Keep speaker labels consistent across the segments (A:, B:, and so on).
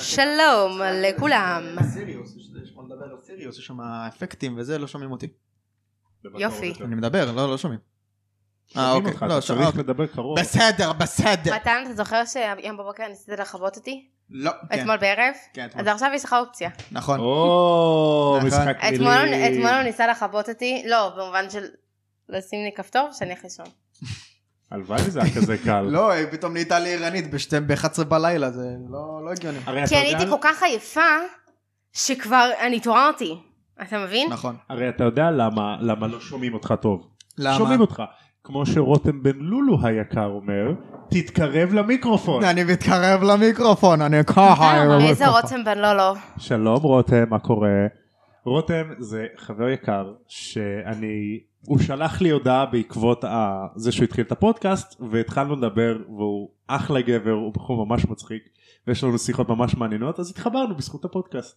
A: שלום לכולם.
B: סיריוס, יש- יש מה לדבר על סיריוס, יש שם אפקטים וזה, לא שומעים אותי.
C: דבר
A: יופי.
C: קרוב יותר.
B: אני מדבר, לא, לא שומעים. אה,
C: שומעים
B: אוקיי,
C: אותך,
B: לא,
C: אתה
B: שומעים.
C: צריך לדבר קרוב.
B: בסדר, בסדר.
A: מתן, אתה זוכר שהיום בבוקר ניסית לכבות אותי?
B: לא, כן,
A: אתמול בערב?
B: כן, אתמול.
A: אז עכשיו יש לך אופציה.
B: נכון.
C: או,
B: נכון.
C: משחק מילים.
A: אתמול הוא- אתמול הוא ניסה לכבות אותי, לא, במובן של לשים לי כפתור שאני אלך לישון.
C: הלוואי וזה היה כזה קל.
B: לא, היא פתאום נהייתה לי ערנית ב-11 בלילה, זה לא לא הגיוני.
C: הרי אתה
A: כי אני
C: יודע-
A: הייתי כל כך עייפה, שכבר אני התעוררתי. אתה מבין?
B: נכון.
C: הרי אתה יודע למה למה לא שומעים אותך טוב. שומעים
B: למה?
C: אותך. כמו שרותם בן לולו היקר אומר, תתקרב למיקרופון.
B: אני מתקרב למיקרופון, אני ככה...
A: אה, איזה רותם בן לא לא.
C: שלום רותם, מה קורה? רותם זה חבר יקר שאני, הוא שלח לי הודעה בעקבות ה... זה שהוא התחיל את הפודקאסט והתחלנו לדבר והוא אחלה גבר, הוא בחור ממש מצחיק ויש לנו שיחות ממש מעניינות אז התחברנו בזכות הפודקאסט.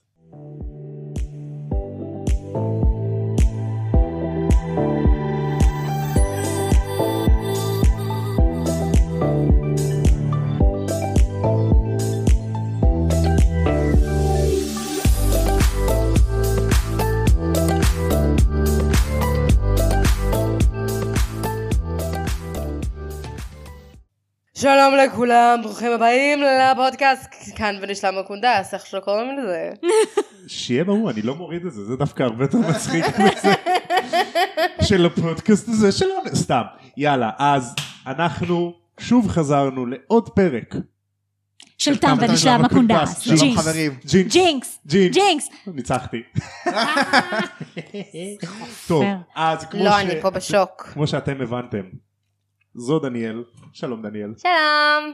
A: שלום לכולם, ברוכים הבאים לפודקאסט כאן ונשלם הקונדס, איך שלא קוראים לזה.
C: שיהיה ברור, אני לא מוריד את זה, זה דווקא הרבה יותר מצחיק מזה של הפודקאסט הזה שלנו, סתם. יאללה, אז אנחנו שוב חזרנו לעוד פרק.
D: של תם ונשלם הקונדס.
C: שלום,
B: שלום
D: ג'ינקס.
B: חברים.
C: ג'ינקס.
D: ג'ינקס.
C: ג'ינקס.
D: ג'ינקס.
C: ניצחתי. טוב, אז כמו
A: לא,
C: ש-
A: אני פה בשוק.
C: כמו שאתם הבנתם, זו דניאל, שלום דניאל,
A: שלום.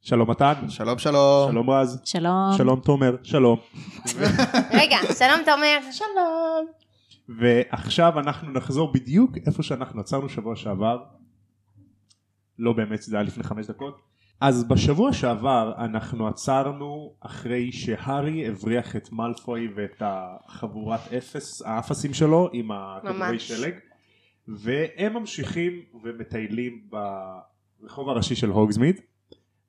C: שלום מתן,
B: שלום שלום.
C: שלום רז,
D: שלום.
C: שלום תומר, שלום.
A: רגע, שלום תומר.
C: שלום. ועכשיו אנחנו נחזור בדיוק איפה שאנחנו עצרנו שבוע שעבר. לא באמת, זה היה לפני חמש דקות. אז בשבוע שעבר אנחנו עצרנו אחרי שהארי הבריח את מאלפוי ואת החבורת אפס, האפסים שלו עם הכדורי
A: ממש.
C: שלג. והם ממשיכים ומטיילים ברחוב הראשי של הוגזמיד.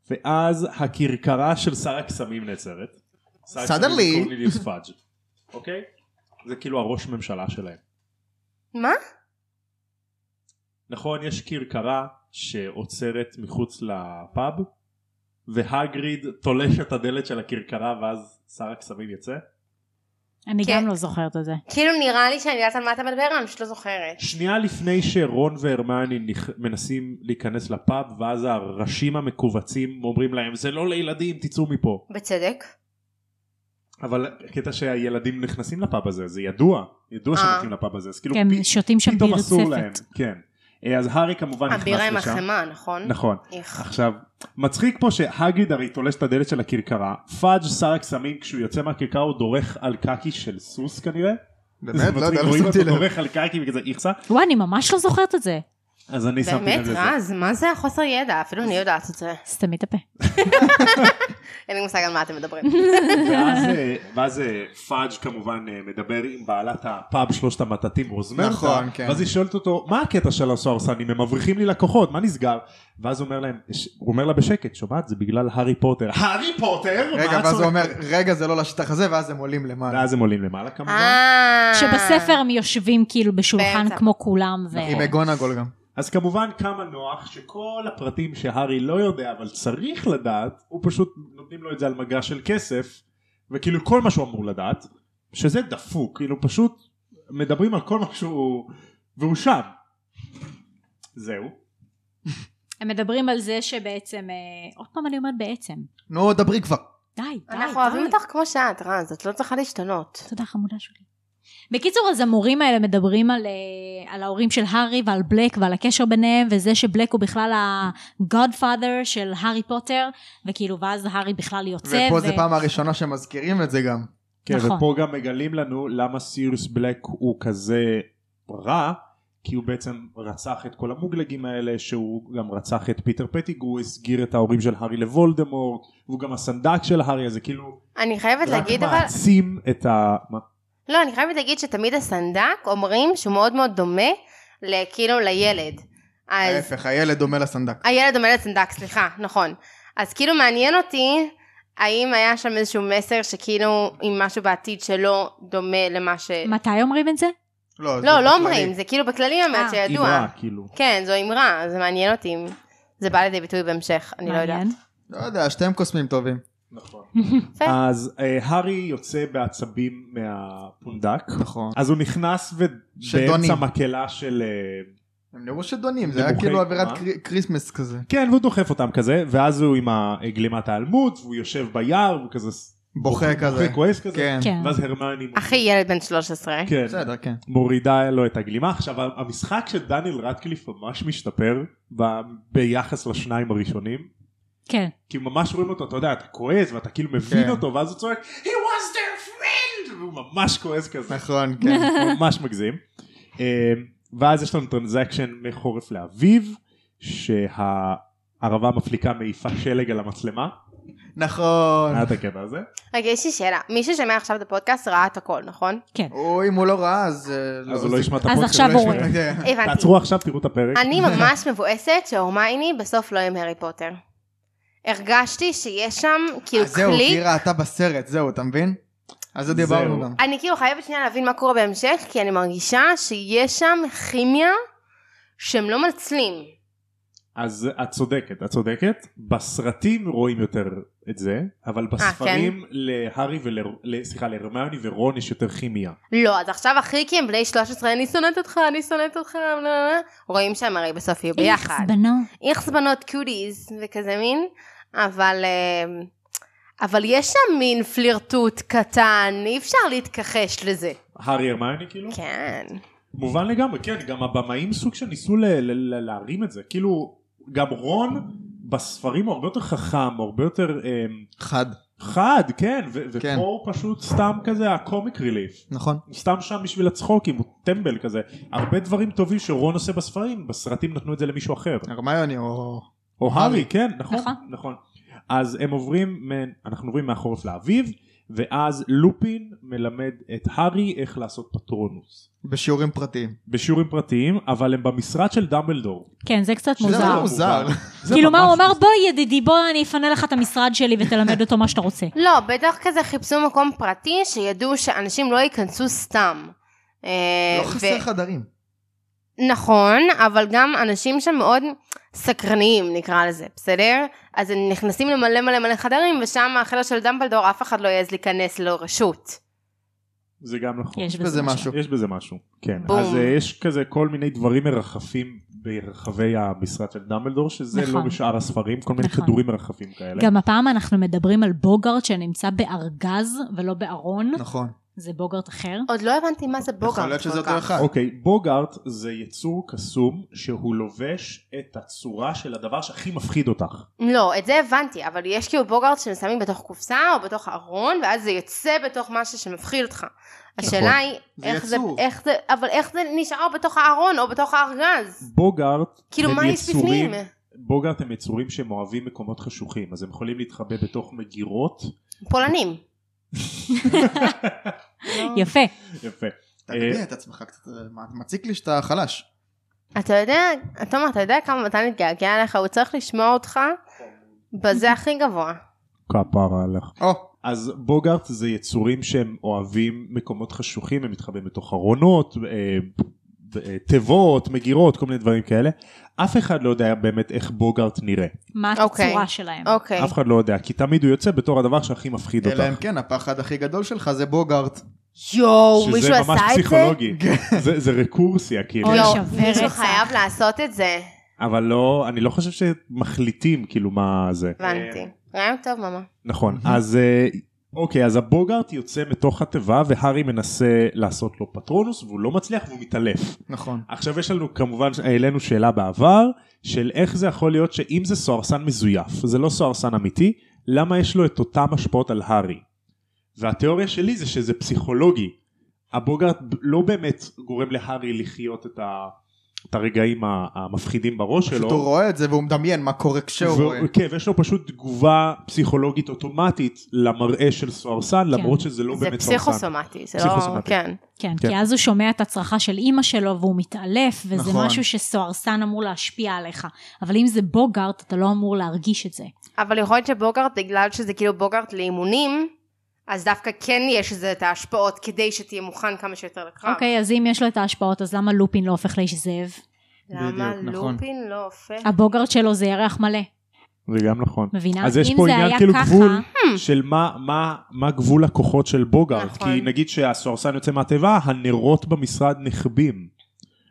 C: ואז הכרכרה של שר הקסמים נעצרת. שר הקסמים
B: Suddenly.
C: זה קורניליוס פאג'. אוקיי? זה כאילו הראש ממשלה שלהם.
A: מה?
C: נכון, יש כרכרה שעוצרת מחוץ לפאב, והגריד תולש את הדלת של הכרכרה ואז שר הקסמים יצא.
D: אני
A: כן.
D: גם לא זוכרת את זה.
A: כאילו נראה לי שאני יודעת על מה אתה מדבר, אני פשוט לא זוכרת.
C: שנייה לפני שרון והרמני נכ- מנסים להיכנס לפאב, ואז הראשים המכווצים אומרים להם זה לא לילדים, תצאו מפה.
A: בצדק.
C: אבל הקטע שהילדים נכנסים לפאב הזה, זה ידוע, ידוע שהם
A: אה.
C: נכנסים לפאב הזה, אז כאילו
D: הם
C: פ-
D: שותים כן, שם
C: פתאום
D: ביר
C: אסור להם,
D: צפת.
C: כן. אה, אז הארי כמובן נכנס לשם.
A: הבירה עם החמאה, נכון?
C: נכון.
A: איך.
C: עכשיו, מצחיק פה שהגיד הרי תולש את הדלת של הכרכרה, פאג' שר הקסמים כשהוא יוצא מהכרכרה הוא דורך על קקי של סוס כנראה. זה
B: באמת? לא
C: מצחיק,
B: יודע, לא
C: רואים
B: שמתי
C: אותו
B: לב.
C: דורך על קקי וכזה איכסה,
D: וואי, אני ממש לא זוכרת את זה.
C: אז אני שמתי
A: באמת
C: לב לזה.
A: רז, מה זה החוסר ידע? אפילו אני יודעת את זה.
D: סתמי את הפה.
A: אה. אין לי מושג על מה אתם מדברים.
C: ואז, אה, ואז אה, פאג' כמובן אה, מדבר עם בעלת הפאב שלושת המטאטים רוזמרטה,
B: נכון, כן.
C: ואז היא שואלת אותו מה הקטע של הסוהרסנים הם מבריחים לי לקוחות מה נסגר, ואז הוא אומר להם, ש- הוא אומר לה בשקט שומעת זה בגלל הארי פוטר, הארי פוטר,
B: רגע,
C: מה את
B: ואז הוא
C: צועקת?"
B: אומר, רגע, זה לא לשטח הזה, ואז הם עולים למעלה.
C: ואז הם עולים למעלה כמובן,
A: אה.
D: שבספר הם יושבים כאילו בשולחן
A: באמצע. נכון.
D: כמו כולם. ו-
C: נכון. אה,
A: אה.
B: עם אגונגול גם.
C: אז כמובן כמה נוח שכל הפרטים שהארי לא יודע אבל צריך לדעת הוא פשוט נותנים לו את זה על מגע של כסף וכאילו כל מה שהוא אמור לדעת שזה דפוק כאילו פשוט מדברים על כל מה שהוא והוא שם זהו
D: הם מדברים על זה שבעצם, אה, עוד פעם אני אומרת בעצם.
B: נו, דברי כבר.
D: די, די, די.
A: אנחנו אוהבים אותך כמו שאת, רז, את לא צריכה להשתנות.
D: תודה חמודה שלי. בקיצור, אז המורים האלה מדברים על, אה, על ההורים של הארי ועל בלק ועל הקשר ביניהם, וזה שבלק הוא בכלל ה-godfather של הארי פוטר, וכאילו, ואז הארי בכלל יוצא.
B: ופה
D: ו-
B: זה פעם הראשונה שמזכירים את זה גם.
C: כן,
D: נכון.
C: ופה גם מגלים לנו למה סיריוס בלק הוא כזה רע, כי הוא בעצם רצח את כל המוגלגים האלה, שהוא גם רצח את פיטר פטיג, הוא הסגיר את ההורים של הארי לוולדמורט, והוא גם הסנדק של הארי, אז זה כאילו
A: אני חייבת
C: רק
A: להגיד אבל...
C: מעצים את ה... מה?
A: לא, אני חייבת להגיד שתמיד הסנדק אומרים שהוא מאוד מאוד דומה ל- כאילו לילד. אז
B: ההפך, הילד דומה לסנדק.
A: הילד דומה לסנדק, סליחה, נכון. אז כאילו מעניין אותי האם היה שם איזשהו מסר שכאילו אם משהו בעתיד שלא דומה למה ש...
D: מתי אומרים את זה?
B: לא, זה
A: לא, לא
B: בכללי.
A: אומרים, זה כאילו בכללי באמת
D: אה.
A: שידוע.
C: אמרה, כאילו.
A: כן, זו אמרה, זה מעניין אותי אם זה בא לידי ביטוי בהמשך, אני לא יודעת.
D: מעניין.
B: לא יודע, שתיהם קוסמים טובים.
C: נכון.
A: יפה.
C: אז אה, הארי יוצא בעצבים מהפונדק,
B: נכון.
C: אז הוא נכנס ו-
B: שדונים.
C: באמצע מקהלה של... אה,
B: הם נראו שדונים, זה
C: הם
B: היה
C: בוכי
B: כאילו אווירת
C: מה?
B: קרי- כריסמס כזה.
C: כן, והוא דוחף אותם כזה, ואז הוא עם הגלימת האלמות, והוא יושב ביער, הוא כזה... ס-
B: בוכה כזה.
C: בוכה כועס כזה.
B: כן.
D: כן.
C: ואז הרמני... מורידה-
A: אחי ילד בן 13.
C: כן.
B: בסדר, כן.
C: מורידה לו את הגלימה. עכשיו, המשחק של דניאל רטקליף ממש משתפר ב- ביחס לשניים הראשונים.
D: כן.
C: כי ממש רואים אותו, אתה יודע, אתה כועס ואתה כאילו מבין
B: כן.
C: אותו, ואז הוא צועק, He was their friend! והוא ממש כועס כזה,
B: נכון, כן.
C: ממש מגזים. אה, ואז יש לנו טרנזקשן מחורף לאביב, שהערבה מפליקה מעיפה שלג על המצלמה,
B: נכון.
C: היה את הקטע הזה.
A: רגע, יש לי שאלה, מי ששומע עכשיו את הפודקאסט ראה את הכל, נכון?
B: או אם הוא לא ראה, אז... אה,
C: אז הוא לא
B: זה-
C: ישמע את
D: אז
C: הפודקאסט.
D: עכשיו
C: הוא לא
D: הוא
C: ישמע.
D: רואה.
B: כן.
A: הבנתי.
C: תעצרו עכשיו, תראו את הפרק.
A: אני ממש מבואסת שהורמייני בסוף לא עם הארי פוטר. הרגשתי שיש שם כאילו
B: אז אה, זהו,
A: קליק.
B: כי ראתה בסרט, זהו, אתה מבין? על זה דיברנו
C: זהו.
B: גם.
A: אני כאילו חייבת שנייה להבין מה קורה בהמשך, כי אני מרגישה שיש שם כימיה שהם לא מנצלים.
C: אז את צודקת, את צודקת. בסרטים רואים יותר את זה, אבל בספרים להארי ול... ל- סליחה, להרמיוני ורון יש יותר כימיה.
A: לא, אז עכשיו אחי כי הם בני 13, אני שונאת אותך, אני שונאת אותך, לא, לא, לא. רואים שהם הרי בסוף יהיו ביחד.
D: איכס, בנות.
A: איכס בנות קיודיז וכזה מין, אבל... אה, אבל יש שם מין פלירטוט קטן, אי אפשר להתכחש לזה.
C: הארי הרמיוני כאילו?
A: כן.
C: מובן לגמרי, כן, גם הבמאים סוג של ניסו ל- ל- ל- להרים את זה. כאילו, גם רון בספרים הוא הרבה יותר חכם, הוא הרבה יותר אמ,
B: חד.
C: חד, כן, ו- ופה
B: כן.
C: הוא פשוט סתם כזה הקומיק ריליף.
B: נכון.
C: הוא סתם שם בשביל הצחוקים, הוא טמבל כזה. הרבה דברים טובים שרון עושה בספרים, בסרטים נתנו את זה למישהו אחר.
B: הרמיוני או...
C: או הארי, כן, נכון,
D: נכון.
C: נכון. אז הם עוברים, מ- אנחנו עוברים מהחורף לאביב, ואז לופין מלמד את הארי איך לעשות פטרונוס.
B: בשיעורים פרטיים.
C: בשיעורים פרטיים, אבל הם במשרד של דמבלדור.
D: כן, זה קצת
B: שזה
D: מוזר.
B: לא מוזר.
C: זה
D: כאילו מה
C: ממש
D: הוא אמר בוא ידידי בוא אני אפנה לך את המשרד שלי ותלמד אותו מה שאתה רוצה.
A: לא, בטח כזה חיפשו מקום פרטי שידעו שאנשים לא ייכנסו סתם. אה,
B: לא חסר
A: ו-
B: חדרים.
A: נכון, אבל גם אנשים שם מאוד סקרניים נקרא לזה, בסדר? אז הם נכנסים למלא מלא מלא חדרים ושם החדר של דמבלדור אף אחד לא יעז להיכנס ללא רשות.
C: זה גם נכון.
D: יש
B: יש בזה משהו.
C: יש בזה משהו, כן.
A: בום.
C: אז אה, יש כזה כל מיני דברים מרחפים ברחבי המשרד של דמבלדור, שזה לא
D: נכון.
C: בשאר הספרים, כל מיני
D: נכון.
C: כדורים מרחפים כאלה.
D: גם הפעם אנחנו מדברים על בוגארט שנמצא בארגז ולא בארון,
B: נכון.
D: זה בוגארט אחר.
A: עוד לא הבנתי מה זה בוגר.
B: יכול להיות שזה אותו אחד.
C: אוקיי, בוגארט זה יצור קסום שהוא לובש את הצורה של הדבר שהכי מפחיד אותך.
A: לא, את זה הבנתי, אבל יש כאילו בוגארט ששמים בתוך קופסה או בתוך ארון, ואז זה יוצא בתוך משהו שמפחיד אותך. השאלה היא,
B: נכון. זה
A: איך זה,
B: יצור.
A: איך זה, אבל איך זה נשאר בתוך הארון או בתוך הארגז?
C: בוגארט
A: כאילו,
C: הם
A: מה יש
C: יצורים-
A: בפנים?
C: בוגארט הם יצורים שהם אוהבים מקומות חשוכים, אז הם יכולים להתחבא בתוך מגירות.
A: פולנים. לא.
D: יפה.
C: יפה.
B: תגביה את עצמך קצת, אה, מה, מציק לי שאתה חלש.
A: אתה יודע, תומר, אתה יודע כמה מתן התגעגע אליך, הוא צריך לשמוע אותך בזה הכי גבוה.
C: כפרה עליך.
B: או,
C: אז בוגארט זה יצורים שהם אוהבים מקומות חשוכים, הם מתחבאים בתוך ארונות, אה, אה, תיבות, מגירות, כל מיני דברים כאלה. אף אחד לא יודע באמת איך בוגארט נראה.
D: מה
A: אוקיי.
D: הצורה שלהם.
A: אוקיי.
C: אף אחד לא יודע, כי תמיד הוא יוצא בתור הדבר שהכי מפחיד אותך.
B: אלא אם כן, הפחד הכי גדול שלך זה בוגארט.
C: כן.
B: כן,
A: יואו, מישהו
C: שזה
A: עשה
C: ממש
A: את זה?
C: פסיכולוגי. זה- זה רקורסיה, כאילו.
D: אוי,
A: לא,
D: שווה
A: מישהו
D: רצח.
A: חייב לעשות את זה.
C: אבל לא, אני לא חושב שמחליטים כאילו מה זה.
A: הבנתי.
C: אה,
A: רעיון טוב, ממא.
C: נכון, אז אה, אוקיי, אז הבוגארט יוצא מתוך התיבה והארי מנסה לעשות לו פטרונוס והוא לא מצליח והוא מתעלף.
B: נכון.
C: עכשיו יש לנו כמובן העלינו שאלה בעבר של איך זה יכול להיות שאם זה סוהרסן מזויף זה לא סוהרסן אמיתי למה יש לו את אותם השפעות על הארי. והתיאוריה שלי זה שזה פסיכולוגי. הבוגרט לא באמת גורם להארי לחיות את את הרגעים ה- המפחידים בראש
B: פשוט
C: שלו.
B: הוא רואה את זה והוא מדמיין מה קורה כשהוא
C: והוא-
B: רואה.
C: כן, ויש לו פשוט תגובה פסיכולוגית אוטומטית למראה של סוהרסן, למרות שזה לא
A: זה
C: באמת סוהרסן.
A: פסיכוסומטי, זה לא...
C: פסיכוסומטי.
A: כן.
D: כן,
C: כן.
D: כי אז הוא שומע את הצרחה של אימא שלו והוא מתעלף, וזה
B: נכון.
D: משהו שסוהרסן אמור להשפיע עליך. אבל אם זה בוגארט, אתה לא אמור להרגיש את זה.
A: אבל יכול להיות שבוגרט, בגלל שזה כאילו בוגרט לאימונים, אז דווקא כן יש לזה את ההשפעות כדי שתהיה מוכן כמה שיותר לקרב.
D: אוקיי, אז אם יש לו את ההשפעות, אז למה לופין לא הופך לאיש זאב?
A: למה
B: בדיוק, נכון.
A: לופין לא הופך?
D: הבוגארט שלו זה ירח מלא,
C: זה גם נכון.
D: מבינה?
C: אז יש
D: אם
C: פה
D: זה
C: עניין
D: היה
C: כאילו
D: ככה- hmm.
C: גבול של מה, מה, מה גבול הכוחות של בוגארט.
A: נכון.
C: כי נגיד שהסוהרסן יוצא מהתיבה, הנרות במשרד נכבים.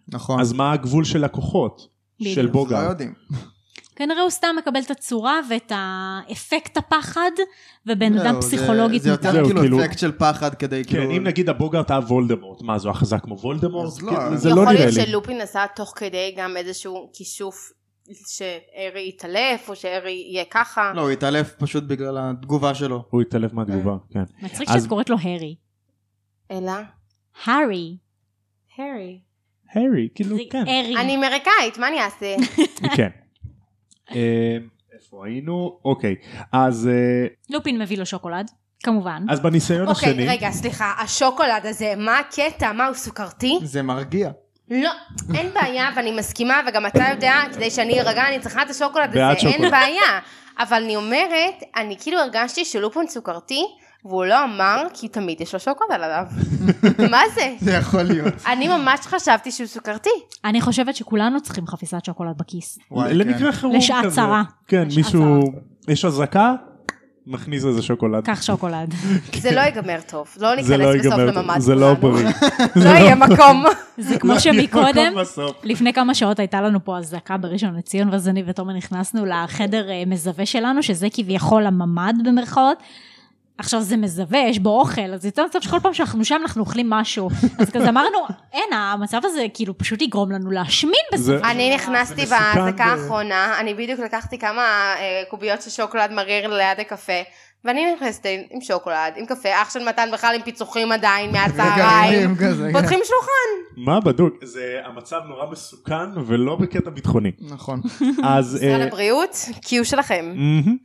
B: נכון.
C: אז מה הגבול של הכוחות של
D: בדיוק.
B: לא
C: בוגארט?
B: יודעים.
D: כנראה הוא סתם מקבל את הצורה ואת האפקט הפחד, ובן
B: זהו,
D: אדם
B: לא, זה-
D: פסיכולוגית
B: זה יותר
C: זהו, כאילו-
B: כאילו אפקט של פחד כדי כאילו...
C: כן, אם נגיד הבוגארט היה וולדמורט, מה, זה החזק כמו וולדמורט?
B: אז לא.
C: כן, זה
B: יכול
C: לא
A: יכול
C: נראה
A: להיות
C: לי.
A: שלופין עשה תוך כדי גם איזשהו כישוף שארי יתעלף, או שארי יהיה ככה.
B: לא, הוא התעלף פשוט בגלל התגובה שלו.
C: הוא התעלף מהתגובה,
D: אה.
C: כן.
D: מצחיק
C: אז-
D: שאת קוראת לו הרי.
A: אלא?
D: הארי.
A: הרי.
C: הרי, כאילו,
D: זה
C: כן.
D: ארי.
A: אני אמריקאית, מה אני אעשה?
C: כן. אה, איפה היינו? אוקיי. אז אה,
D: לופין מביא לו שוקולד, כמובן.
C: אז בניסיון השני...
A: אוקיי, רגע, סליחה, השוקולד הזה, מה הקטע? מה, הוא סוכרתי?
B: זה מרגיע.
A: לא, אין בעיה, ואני מסכימה, וגם אתה יודע, כדי שאני ארגע, אני צריכה את השוקולד
C: בעד
A: הזה, אין
C: שוקולד.
A: בעיה. אבל אני אומרת, אני כאילו הרגשתי שלופון סוכרתי, והוא לא אמר, כי תמיד יש לו שוקולד עליו. מה זה?
B: זה יכול להיות.
A: אני ממש חשבתי שהוא סוכרתי.
D: אני חושבת שכולנו צריכים חפיסת שוקולד בכיס.
B: וואי,
C: למקרה חירום
D: לשעת
C: כזה.
D: צרה.
C: כן,
D: לשעת
C: מישהו... יש אזעקה? מכניס איזה שוקולד.
D: קח שוקולד.
A: זה לא ייגמר טוב, לא
C: זה
A: ניכנס
C: לא
A: בסוף
C: ייגמר,
A: לממ"ד.
C: זה לא
A: שלנו.
C: בריא.
A: לא יהיה מקום.
D: זה כמו
C: לא יהיה
D: שמקודם, כן,
C: מקום בסוף.
D: לפני כמה שעות הייתה לנו פה אזעקה בראשון לציון, ואז אני ותומר נכנסנו לחדר אה, מזווה שלנו, שזה כביכול הממ"ד במרכאות. עכשיו זה מזווה, יש בו אוכל, אז יותר מצב שכל פעם שאנחנו שם אנחנו אוכלים משהו. אז כזה אמרנו, אין, המצב הזה כאילו פשוט יגרום לנו להשמין בסוף.
C: זה-
A: אני נכנסתי
C: זה מסוכן
A: באזעקה
C: ב-
A: האחרונה, אני בדיוק לקחתי כמה אה, קוביות של שוקולד מריר ליד הקפה, ואני נכנסת עם שוקולד, עם קפה, אח של מתן בכלל עם פיצוחים עדיין מהצהריים,
B: רגעים כזה. כן.
A: פותחים שלוחן.
C: מה בדוק? זה המצב נורא מסוכן ולא בקטע ביטחוני.
B: נכון.
C: אז...
A: משרד
C: אה, נכון.
A: הבריאות, קיו שלכם.
C: מהמם.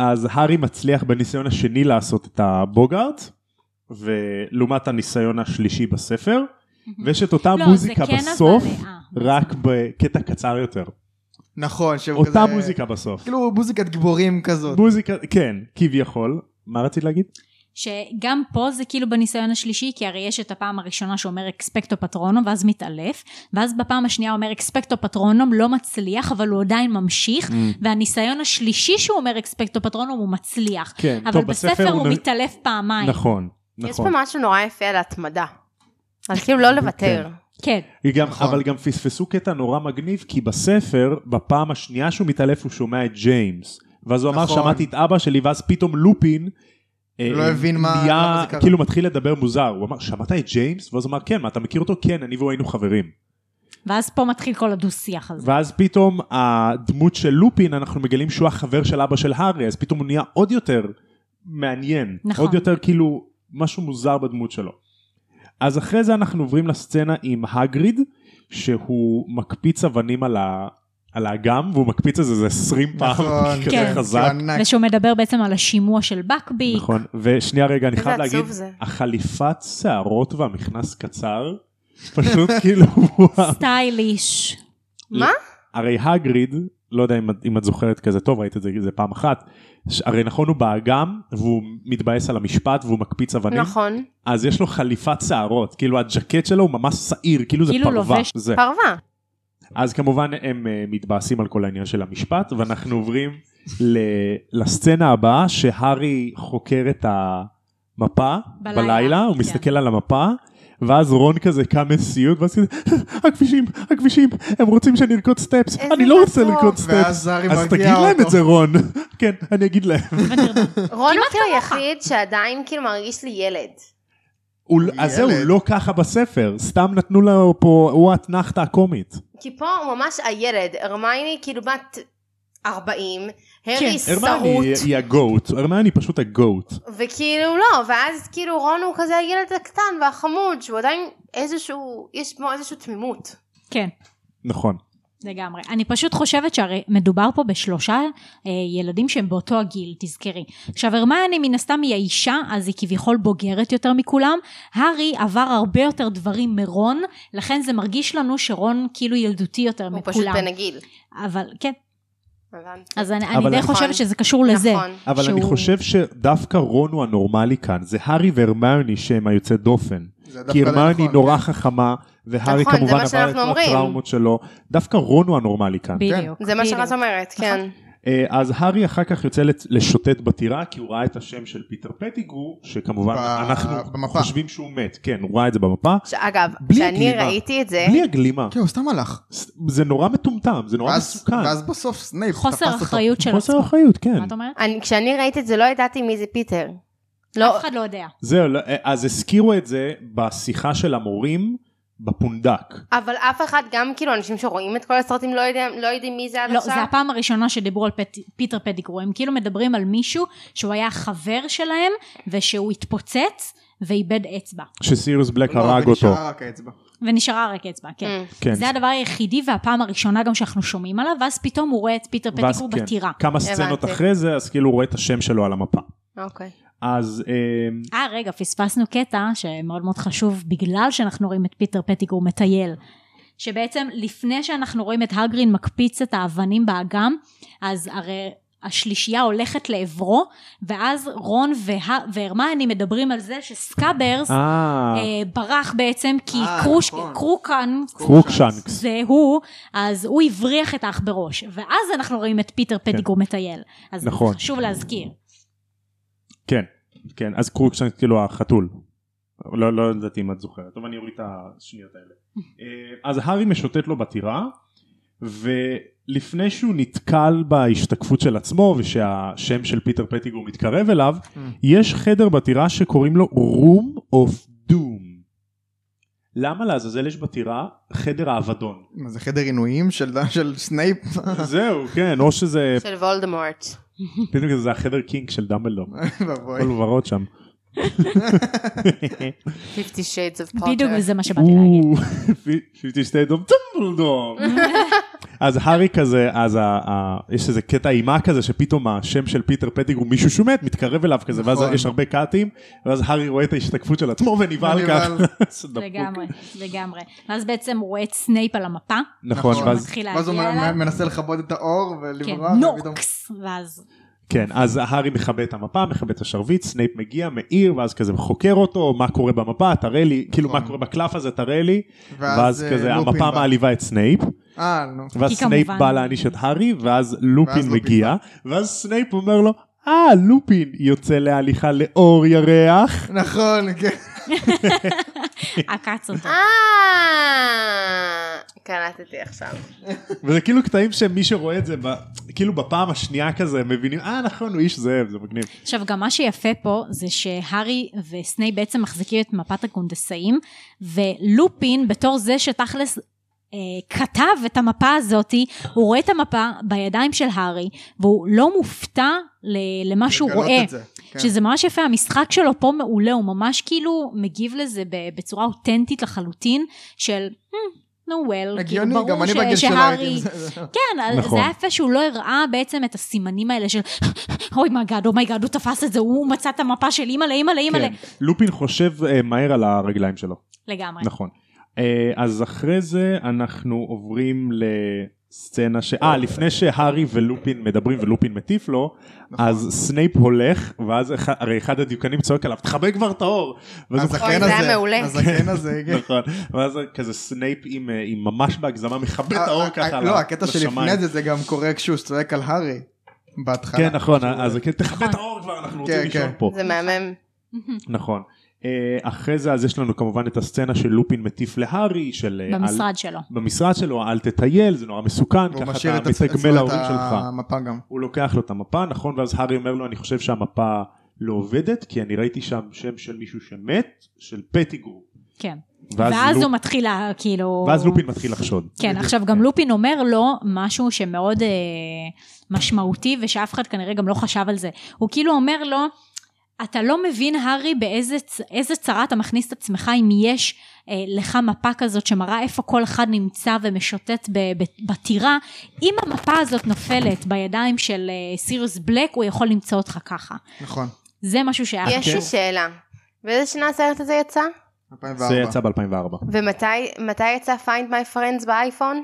C: אז הארי מצליח בניסיון השני לעשות את הבוגארט, ולעומת הניסיון השלישי בספר, ויש את אותה
D: לא, זה
C: מוזיקה
D: כן,
C: בסוף,
D: אבל, אה,
C: רק בקטע קצר יותר.
B: נכון, שהוא כזה...
C: אותה מוזיקה בסוף.
B: כאילו מוזיקת גיבורים כזאת.
C: מוזיקה, כן, כביכול. מה רצית להגיד?
D: שגם פה זה כאילו בניסיון השלישי, כי הרי יש את הפעם הראשונה שאומר אקספקטו פטרונום, ואז מתעלף, ואז בפעם השנייה אומר אקספקטו פטרונום, לא מצליח, אבל הוא עדיין
B: Mm.
D: ממשיך,
C: Mm.
D: והניסיון השלישי שהוא אומר אקספקטו פטרונום הוא מצליח.
C: כן,
D: אבל
C: טוב,
D: בספר הוא
C: נ-
D: מתעלף פעמיים.
C: נכון,
A: יש פה
C: נכון.
A: משהו נורא יפה על התמדה. אז כאילו לא לוותר.
D: כן,
C: היא גם,
B: נכון.
C: אבל גם פספסו קטע נורא מגניב, כי בספר, בפעם השנייה שהוא מתעלף הוא שומע את ג'יימס. ואז הוא אמר,
B: נכון.
C: שמעתי את אבא שלי, ואז פתאום לופין... אה,
B: לא הבין מה-
C: נהיה-
B: למה זה קרה.
C: כאילו מתחיל לדבר מוזר. הוא אמר, שמעת את ג'יימס? ואז הוא אמר, כן, מה, אתה מכיר אותו? כן, אני והוא היינו חברים.
D: ואז פה מתחיל כל הדו-שיח הזה.
C: ואז פתאום הדמות של לופין, אנחנו מגלים שהוא החבר של אבא של הארי, אז פתאום הוא נהיה עוד יותר מעניין.
D: נכון.
C: עוד יותר כאילו משהו מוזר בדמות שלו. אז אחרי זה אנחנו עוברים לסצנה עם הגריד, שהוא מקפיץ אבנים על, ה... על האגם, והוא מקפיץ את זה איזה 20 פעם,
B: נכון,
C: כזה
D: כן.
C: חזק.
B: שהוא ענק.
D: ושהוא מדבר בעצם על השימוע של בקבי.
C: נכון, ושנייה רגע, אני
A: איזה
C: חייב
A: עצוב
C: להגיד,
A: זה.
C: החליפת שערות והמכנס קצר, פשוט כאילו, וואו.
D: סטייליש.
A: מה?
C: הרי הגריד, לא יודע אם, את- אם את זוכרת כזה טוב, ראית את זה, זה פעם אחת, ש- הרי נכון הוא באגם, והוא מתבאס על המשפט והוא מקפיץ אבנים, נכון.
A: נכון.
C: אז יש לו חליפת שערות, כאילו הג'קט שלו הוא ממש שעיר, כאילו זה
D: כאילו
C: פרווה.
D: לובש
C: זה.
A: פרווה.
C: אז כמובן הם אה, מתבאסים על כל העניין של המשפט, ואנחנו עוברים ל- לסצנה הבאה, שהארי חוקר את המפה
D: בלילה,
C: בלילה, בלילה הוא
D: כן.
C: מסתכל על המפה. ואז רון כזה קם לסיוט, ואז כזה, "אה, הכבישים, הכבישים, הם רוצים שנרקוד סטפס,
A: איזה
C: אני לא רוצה
A: מתוק.
C: לרקוד סטפס.
B: ואז הארי
C: אז תגיד
B: מרגיע
C: להם את
B: אותו.
C: זה רון. כן, אני אגיד להם.
A: רון הוא כאילו היחיד שעדיין כאילו מרגיש לי ילד.
C: הוא- אז זהו,
B: ילד.
C: לא ככה בספר, סתם נתנו לו פה, הוא האתנחתא הקומית.
A: כי פה הוא ממש הילד, הרמייני כאילו בת 40, הרי
C: הרמני כן, היא-
A: שרוט,
C: היא הגוט, הרמני פשוט הגוט.
A: וכאילו לא, ואז כאילו רון הוא כזה הילד הקטן והחמוד, שהוא עדיין איזשהו, יש בו איזושהי תמימות.
D: כן.
C: נכון.
D: לגמרי. אני פשוט חושבת שהרי מדובר פה בשלושה אה, ילדים שהם באותו הגיל, תזכרי. עכשיו, הרמיוני מן הסתם היא האישה, אז היא כביכול בוגרת יותר מכולם. הארי עבר הרבה יותר דברים מרון, לכן זה מרגיש לנו שרון כאילו ילדותי יותר
A: הוא
D: מכולם.
A: פשוט בן הגיל.
D: אבל כן,
A: הבנתי.
D: אז אני, אני
C: אבל- כן.
D: די
A: נכון.
D: חושבת שזה קשור לזה.
A: נכון.
C: אבל שהוא... אני
D: שהוא-
C: חושב שדווקא רון הוא הנורמלי כאן, זה הארי והרמיוני שהם היוצא דופן.
B: זה דווקא
C: כי
B: לא
C: הרמיוני
B: נכון.
C: כאילו, נורא חכמה, והארי
A: נכון, זה
C: כמובן
A: מה
C: עבר את
A: שאנחנו אומרים.
C: הטראומות שלו, דווקא רון הוא הנורמלי כאן.
D: בדיוק.
A: זה מה
D: בדיוק.
A: שרז אומרת,
D: נכון.
A: כן.
C: אה, אז הארי אחר כך יוצא לצ- לשוטט בטירה, כי הוא ראה את השם של פיטר פטיגרו, שכמובן
B: ב-
C: אנחנו
B: במפה.
C: חושבים שהוא מת, כן, הוא ראה את זה במפה,
A: שאגב,
C: בלי
A: כשאני
C: גלימה.
A: ראיתי את זה,
C: בלי הגלימה.
B: כן, הוא סתם הלך.
C: ס- זה נורא מטומטם, זה נורא
B: ואז-
C: מסוכן.
B: ואז בסוף סנייפ תפס
D: חוסר
B: אותו.
D: אחריות של
C: חוסר
D: עצמו.
C: אחריות, כן.
D: מה את אומרת?
A: אני- כשאני ראיתי את זה לא ידעתי מי זה פיטר. לא,
D: אף אחד לא יודע.
C: זהו, לא- אז הזכירו את זה בשיחה של המורים בפונדק.
A: אבל אף אחד, גם כאילו אנשים שרואים את כל הסרטים לא יודעים- לא יודעים מי זה עד
D: לא,
A: עכשיו.
D: זו הפעם הראשונה שדיברו על פט, פיטר פדיקרו, הם כאילו מדברים על מישהו שהוא היה חבר שלהם ושהוא התפוצץ ואיבד אצבע,
C: שסיריוס בלק
B: לא,
C: הרג
B: ונשאר
C: אותו.
B: רק האצבע.
D: ונשארה רק אצבע, כן.
A: Mm.
C: כן.
D: זה הדבר היחידי והפעם הראשונה גם שאנחנו שומעים עליו, ואז פתאום הוא רואה את פיטר
C: ואז
D: פדיקרו
C: כן,
D: בטירה.
C: כמה סצנות
A: הבנתי.
C: אחרי זה, אז כאילו הוא רואה את השם שלו על המפה.
A: אוקיי.
C: אז אמ,
D: אה, רגע, פספסנו קטע שמאוד מאוד חשוב בגלל שאנחנו רואים את פיטר פטיגור מטייל. שבעצם לפני שאנחנו רואים את הגרין מקפיץ את האבנים באגם, אז הרי השלישייה הולכת לעברו, ואז רון וה... והרמני מדברים על זה שסקאברס אה,
C: אה,
D: ברח בעצם כי
B: אה,
D: קרוש...
B: נכון.
D: קרוקן
C: קרוקשנקס.
D: זה הוא, אז הוא הבריח את האח בראש, ואז אנחנו רואים את פיטר פטיגור מטייל. אז
C: נכון.
D: חשוב להזכיר.
C: כן, כן, אז קרוקשנקס כאילו החתול. לא, לא ידעתי אם את זוכרת, טוב אני אוריד את השניות האלה. אה, אז הארי משוטט לו בטירה, ולפני שהוא נתקל בהשתקפות של עצמו ושהשם של פיטר פטיגו מתקרב אליו,
B: Mm.
C: יש חדר בטירה שקוראים לו Room of Doom. למה לעזאזל יש בטירה חדר האבדון?
B: מה, זה חדר עינויים של של סנייפ?
C: זהו, כן, או שזה,
A: של וולדמורט.
C: בדיוק זה החדר קינג של דמבלדור.
B: ואבוי.
C: כל ורוד שם.
A: 50 Shades of
B: נכון.
A: Potter.
B: אה.
D: בדיוק זה מה שבאתי להגיד.
C: פיפטי שטייט אוף טמבלדור. אז הארי כזה, אז ה- ה- יש איזה קטע אימה כזה שפתאום השם של פיטר פטיג הוא מישהו שהוא מת, מתקרב אליו כזה, ואז
B: נכון.
C: יש הרבה קאטים, ואז הארי רואה את ההשתקפות של עצמו ונבהל ככה.
B: ונבהל.
C: זה דפוק.
D: לגמרי, לגמרי. ואז בעצם הוא רואה את סנייפ על המפה,
C: נכון,
B: נכון.
C: ואז,
D: מתחיל
B: ואז הוא
D: להגיע אליו.
B: מנסה לכבות את האור ולברוח.
D: כן,
B: ופתאום-
D: נוקס, ואז
C: כן, אז הארי מכבה את המפה, מכבה את השרביט, סנייפ מגיע, מאיר, ואז כזה חוקר אותו, מה קורה במפה, תראה לי, כאילו
B: נכון.
C: מה קורה בקלף הזה, תראה לי,
B: ואז,
C: ואז
B: אה,
C: כזה
B: לופין
C: המפה
B: בא.
C: מעליבה את סנייפ.
B: אה, נו.
C: ואז
D: כי
C: סנייפ
D: כמובן-
C: בא להעניש את הארי, ואז לופין
B: ואז לופין
C: מגיע, ואז סנייפ אומר לו, אה, לופין יוצא להליכה לאור ירח.
B: נכון, כן.
D: עקץ אותו.
A: אה, קלטתי עכשיו.
C: וזה כאילו קטעים שמי שרואה את זה, ב- כאילו בפעם השנייה כזה, מבינים, אה, נכון, הוא איש זאב, זה מגניב.
D: עכשיו גם מה שיפה פה זה שהארי וסנייפ בעצם מחזיקים את מפת הקונדסאים, ולופין בתור זה שתכלס אה, כתב את המפה הזאתי, הוא רואה את המפה בידיים של הארי, והוא לא מופתע ל- למה שהוא
B: לגלות
D: רואה.
B: את זה, כן.
D: שזה ממש יפה, המשחק שלו פה מעולה, הוא ממש כאילו מגיב לזה ב- בצורה אותנטית לחלוטין, של נו well, כאילו
B: הגיוני, גם
D: ברור
B: אני בגיל
D: ש-
B: שלו
D: שהארי...
B: הייתי. עם זה.
D: כן, אז
C: נכון.
D: זה היה יפה שהוא לא הראה בעצם את הסימנים האלה של "Oh אוי מגאד, אוי מגאד, הוא תפס את זה, הוא מצא את המפה של אימא'לה, אימא'לה, אימא'לה.
C: כן, לופין חושב אה, מהר על הרגליים שלו,
D: לגמרי.
C: נכון. אה, אז אחרי זה אנחנו עוברים לסצנה ש... אה, לפני שהארי ולופין מדברים ולופין מטיף לו,
B: נכון.
C: אז סנייפ הולך, ואז אחד- הרי אחד הדיוקנים צועק עליו, תכבה כבר את האור. ואז הוא
A: אוי,
B: הזקן
A: זה היה
B: הזה,
A: מעולה.
B: הזקן הזה, כן.
C: נכון, ואז כזה סנייפ עם, אה, עם ממש בהגזמה מכבה את האור
B: ה-
C: ככה
B: ה-
C: ל-
B: אה, לא, הקטע
C: לשמיים.
B: שלפני זה, זה גם קורה כשהוא צועק על הארי. בהתחלה.
C: כן נכון, אז זה כן, תכבה את האור כבר, אנחנו רוצים
B: כן,
C: לישון
B: כן.
C: פה.
A: זה מהמם.
C: נכון. אה, אחרי זה אז יש לנו כמובן את הסצנה של לופין מטיף להארי, של... אה, אל-
D: במשרד שלו.
C: במשרד שלו, אל תטייל, זה נורא מסוכן,
B: והוא
C: ככה
B: משאיר את
C: אתה
B: עצ-
C: מתגמל
B: עצמו את
C: להורים שלך.
B: המפה גם.
C: הוא לוקח לו את המפה, נכון, ואז הארי אומר לו, אני חושב שהמפה לא עובדת, כי אני ראיתי שם שם של מישהו שמת, של פטיגרו.
D: כן.
C: ואז
D: ואז
C: לופ-
D: הוא מתחיל לה- כאילו...
C: ואז לופין מתחיל לחשוד.
D: כן, עכשיו גם לופין אומר לו משהו שמאוד אה, משמעותי ושאף אחד כנראה גם לא חשב על זה. הוא כאילו אומר לו, אתה לא מבין, הארי, באיזה צ- איזה צרה אתה מכניס את עצמך אם יש אה, לך מפה כזאת שמראה איפה כל אחד נמצא ומשוטט ב- ב- בטירה. אם המפה הזאת נופלת בידיים של אה, סיריוס בלק, הוא יכול למצוא אותך ככה.
B: נכון,
D: זה משהו שהיה
C: אה,
A: יש
C: כן.
A: לי
D: חשוב.
A: שאלה. באיזה שנה הסרט הזה יצא?
B: 2004.
C: זה יצא ב-2004.
A: ומתי מתי יצא Find My Friends באייפון?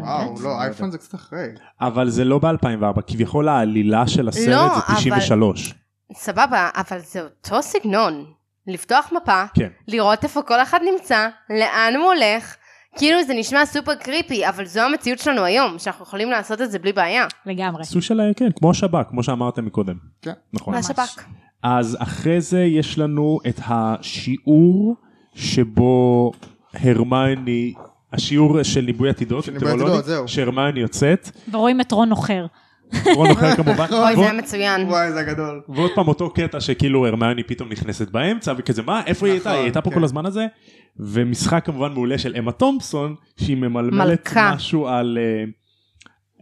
B: וואו, לא, אייפון זה קצת אחרי.
C: אבל זה לא ב-2004, כביכול העלילה של הסרט
A: לא,
C: זה 93.
A: סבבה, אבל זה אותו סגנון. לפתוח מפה,
C: כן.
A: לראות איפה כל אחד נמצא, לאן הוא הולך. כאילו זה נשמע סופר קריפי, אבל זו המציאות שלנו היום, שאנחנו יכולים לעשות את זה בלי בעיה.
D: לגמרי.
C: עשו של, כן, כמו השב"כ, כמו שאמרתם מקודם.
B: כן.
C: נכון.
A: מהשב"כ.
C: אז אחרי זה יש לנו את השיעור שבו הרמייני, השיעור של ניבוי עתידות,
B: של ניבוי עתידות,
C: מטאורולוגית,
B: זהו.
C: שהרמייני יוצאת,
D: ורואים את רון אוכר.
C: רון אוכל כמובן,
A: אוי, זה
C: ועוד-
A: היה מצוין.
B: וואי, זה גדול.
C: ועוד פעם אותו קטע שכאילו הרמיוני פתאום נכנסת באמצע וכזה מה איפה היא הייתה
B: נכון,
C: היא הייתה פה
B: כן.
C: כל הזמן הזה ומשחק כמובן מעולה של אמה תומפסון שהיא ממלמלת
A: מלכה.
C: משהו על אה,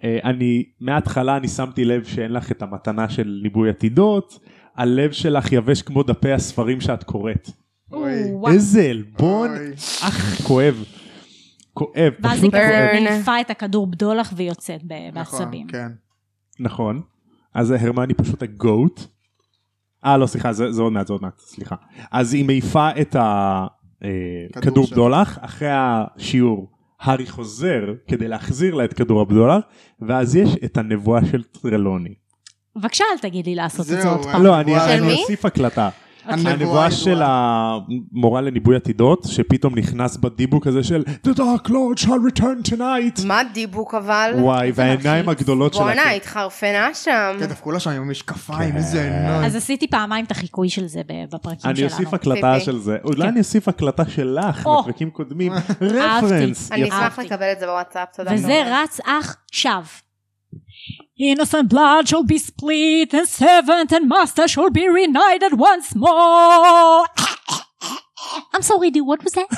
C: אה, אני מההתחלה אני שמתי לב שאין לך את המתנה של ליבוי עתידות הלב שלך יבש כמו דפי הספרים שאת קוראת
B: אוי.
D: וואו.
C: איזה עלבון
B: אוי.
C: אך כואב כואב
D: ואז
C: פשוט
D: היא
C: כואב
A: Burn.
D: כזה מעיפה את הכדור בדולח והיא יוצאת ב- בעצבים.
B: נכון, כן.
C: נכון. אז הרמני פשוט הגוט. אה לא סליחה זה, זה עוד מעט זה עוד מעט סליחה. אז היא מעיפה את
B: כדור
C: הכדור
B: שם.
C: בדולח אחרי השיעור. הארי חוזר כדי להחזיר לה את כדור הבדולח ואז יש את הנבואה של טרלוני.
D: בבקשה אל תגיד לי לעשות את
B: זהו,
D: זה עוד
B: אה.
D: פעם.
C: לא אני,
B: של
C: אני
A: מי?
C: אוסיף הקלטה.
B: הנבואה
C: הנבואה
B: ידועה.
C: של המורה לניבוי עתידות שפתאום נכנס בדיבוק הזה של The Dark Lord shall return tonight.
A: מה דיבוק אבל?
C: וואי והעיניים הגדולות שלה.
A: בואנה, התחרפנה שם.
B: כן, דפקו לה שם עם המשקפיים,
C: כן.
B: איזה עיניים.
D: אז עשיתי פעמיים את החיקוי של זה ב- בפרקים שלנו.
C: אני אוסיף הקלטה
A: ציפי.
C: של זה, אולי אני אוסיף הקלטה שלך
D: או.
C: מפרקים קודמים, רפרנס.
A: אני
C: יפה.
A: אשמח
D: אהבתי.
A: לקבל את זה בוואטסאפ, תודה.
D: וזה רץ עכשיו. Innocent blood shall be split and servant and master shall be reunited once more. I'm sorry, dude, what was that?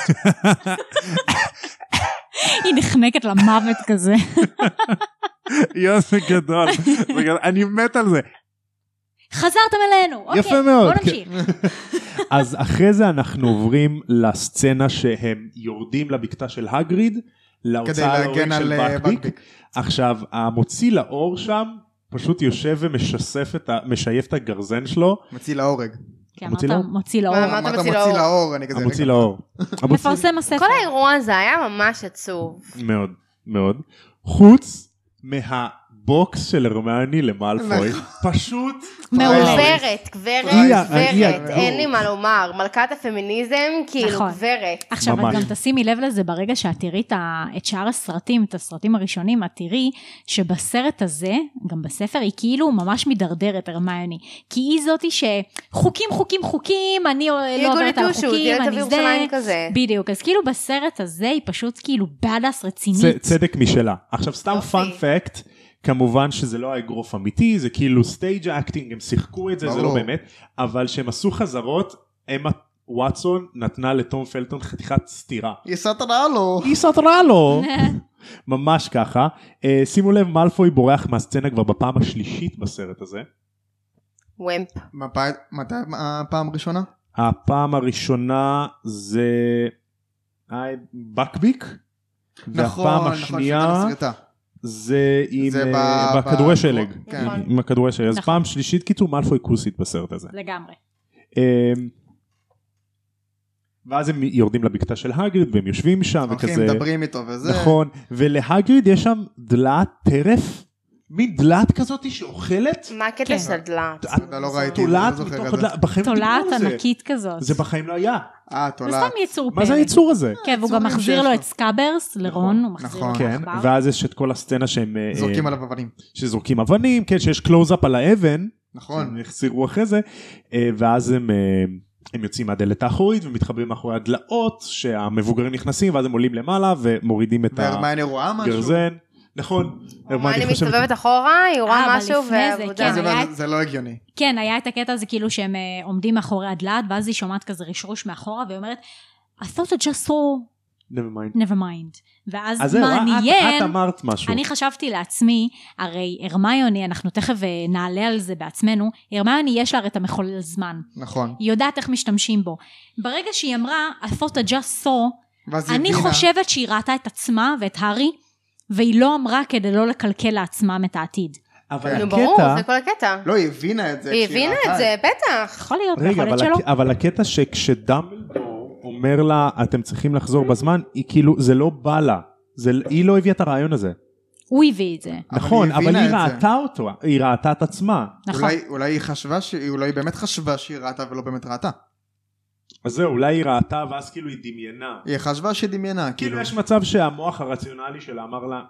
D: היא נחנקת למוות כזה.
C: יואו, זה גדול, זה גדול, אני מת על זה.
D: חזרתם אלינו. אוקיי,
C: יפה מאוד,
D: בוא נמשיך.
C: אז אחרי זה אנחנו עוברים לסצנה שהם יורדים לבקתה של הגריד,
B: כדי
C: להוצאה
B: להגן
C: להורג
B: על
C: של
B: אה,
C: בקביק.
B: בקביק.
C: עכשיו, המוציא לאור שם פשוט יושב ומשייף את ה- משייף את הגרזן שלו,
B: מציל להורג.
D: כי
C: המוציא
D: אמרת
C: לאור?
D: מוציא לאור.
A: מה, מה? אמרת
B: אמרת
A: מציל
B: מציל
A: לאור.
B: לאור, אני כזה...
C: המוציא
B: רגע.
C: לאור. המוציא-
D: מפרסם הספר.
A: כל האירוע הזה היה ממש עצוב.
C: מאוד, מאוד. חוץ מהבוקס של הרמני למאלפוי, פשוט
D: מעולה.
A: גברת, גברת,
C: היא ה- היא
A: גברת,
C: ה-
A: אין לי מה לומר. מלכת הפמיניזם, כאילו,
D: נכון.
A: גברת.
D: עכשיו, את
C: ממש.
D: גם תשימי לב לזה ברגע שאת תראי את ה- את שאר הסרטים, את הסרטים הראשונים, את תראי שבסרט הזה, גם בספר, היא כאילו ממש מידרדרת, הרמיוני. כי היא זאתי שחוקים, חוקים, חוקים, אני לא עוברת על
A: גוליטושות,
D: החוקים,
A: ילד
D: אני
A: אוויר
D: זה.
A: ירושלים כזה.
D: בדיוק, אז כאילו בסרט הזה היא פשוט כאילו בדאס
C: צ-
D: רצינית.
C: צדק משלה. עכשיו סתם
A: יופי.
C: פאנפקט, כמובן שזה לא היה אגרוף אמיתי, זה כאילו סטייג' אקטינג, הם שיחקו את זה, זה לא
B: ברור.
C: באמת, אבל כשהם עשו חזרות, אמה וואטסון נתנה לתום פלטון חתיכת סטירה.
B: היא סתרה לו.
C: היא סתרה לו! ממש ככה. אה, שימו לב, מאלפוי בורח מהסצנה כבר בפעם השלישית בסרט הזה.
A: וומפ.
B: מפאי- מתי הפעם הראשונה?
C: הפעם הראשונה זה אה, בקביק.
B: נכון,
C: והפעם
B: נכון,
C: השנייה
B: שהייתה לו שריטה.
C: זה עם
B: זה ב-
C: אה,
B: ב-
C: בכדורי שלג.
B: כן.
A: נכון.
C: עם הכדורי שלג. אז
D: נכון.
C: פעם שלישית קיצור מאלפוי כוסית בסרט הזה.
D: לגמרי.
C: אה, ואז הם יורדים לבקתה של הגריד והם יושבים שם
B: הולכים,
C: וכזה.
B: מדברים איתו וזה.
C: נכון. ולהגריד יש שם דלעת טרף. מין דלעת כזאת שאוכלת.
A: מה הקטע
D: כן.
A: של הדלעת?
C: את
B: יודע, לא ראיתי,
C: תולעת
B: לא זוכר
C: מתוך
B: את זה.
C: הדלעת. בחיים לא
D: תולעת
C: דיברו על זה.
D: ענקית אוקיי. כזאת.
C: זה בחיים לא היה.
B: אה,
D: זה
B: תולעת.
D: סתם יצור פרק.
C: מה זה הייצור הזה?
D: כן, והוא גם
B: יצורים
D: מחזיר
B: שיש
D: לו
B: לו.
D: את סקאברס, לרון, הוא מחזיר לו
B: נכון.
D: את
C: כן,
D: העכבר.
C: ואז יש את כל הסצנה שהם אה,
B: זורקים
C: אה,
B: עליו אבנים.
C: שזורקים אבנים, כן, שיש קלוז-אפ על האבן,
B: נכון.
C: הם החזירו אחרי זה, אה, ואז הם, אה, הם יוצאים מהדלת האחורית ומתחבאים מאחורי הדלעות, שהמבוגרים נכנסים, ואז הם עולים למעלה ומורידים את
B: והרמיוני רואה משהו.
C: הגרזן. נכון,
A: מה, אה, אני
C: הרמיוני חושבת-
A: מסתובבת אחורה, היא רואה
D: אה, אבל
A: משהו
D: לפני זה,
A: ועבודה.
D: כן,
B: אז היא אומרת,
D: היה-
B: זה לא הגיוני.
D: כן, היה את הקטע הזה כאילו שהם אה, עומדים מאחורי הדלעת, ואז היא שומעת כזה רשרוש מאחורה, והיא אומרת, I thought I just saw
C: never mind.
D: never mind. ואז
C: אז זהו, את-
D: מעניין,
C: את אמרת משהו.
D: אני חשבתי לעצמי, הרי הרמיוני, אנחנו תכף אה, נעלה על זה בעצמנו, הרמיוני יש לה הרי את המחולל זמן.
B: נכון.
D: היא יודעת איך משתמשים בו. ברגע שהיא אמרה, I thought I just saw,
B: ואז היא
D: אני
B: הבינה-
D: חושבת שהיא ראתה את עצמה ואת הארי, והיא לא אמרה כדי לא לקלקל לעצמם את העתיד.
C: אבל
B: נו,
A: נו ברור,
C: הקטע...
A: זה כל הקטע.
B: לא, היא הבינה את זה. אה.
A: היא
B: כשהיא
A: הבינה
B: ראתה
A: את זה, בטח.
D: יכול להיות,
C: רגע,
D: יכול להיות
C: אבל,
D: שלא.
C: הק... אבל הקטע שכשדמבלדור אומר לה, אתם צריכים לחזור בזמן, היא כאילו, זה לא בא לה. זה, היא לא הביאה את הרעיון הזה.
D: הוא הביא את זה,
B: אבל
C: נכון,
B: היא
C: אבל
B: הבינה
C: היא
B: את זה.
C: ראתה אותו, היא ראתה את עצמה.
D: נכון.
B: אולי, אולי היא חשבה שהיא, אולי היא באמת חשבה שהיא ראתה ולא באמת ראתה.
C: אז זהו, אולי היא ראתה ואז כאילו היא דמיינה.
B: היא חשבה שהיא דמיינה, כאילו.
C: כאילו יש מצב שהמוח הרציונלי שלה אמר לה,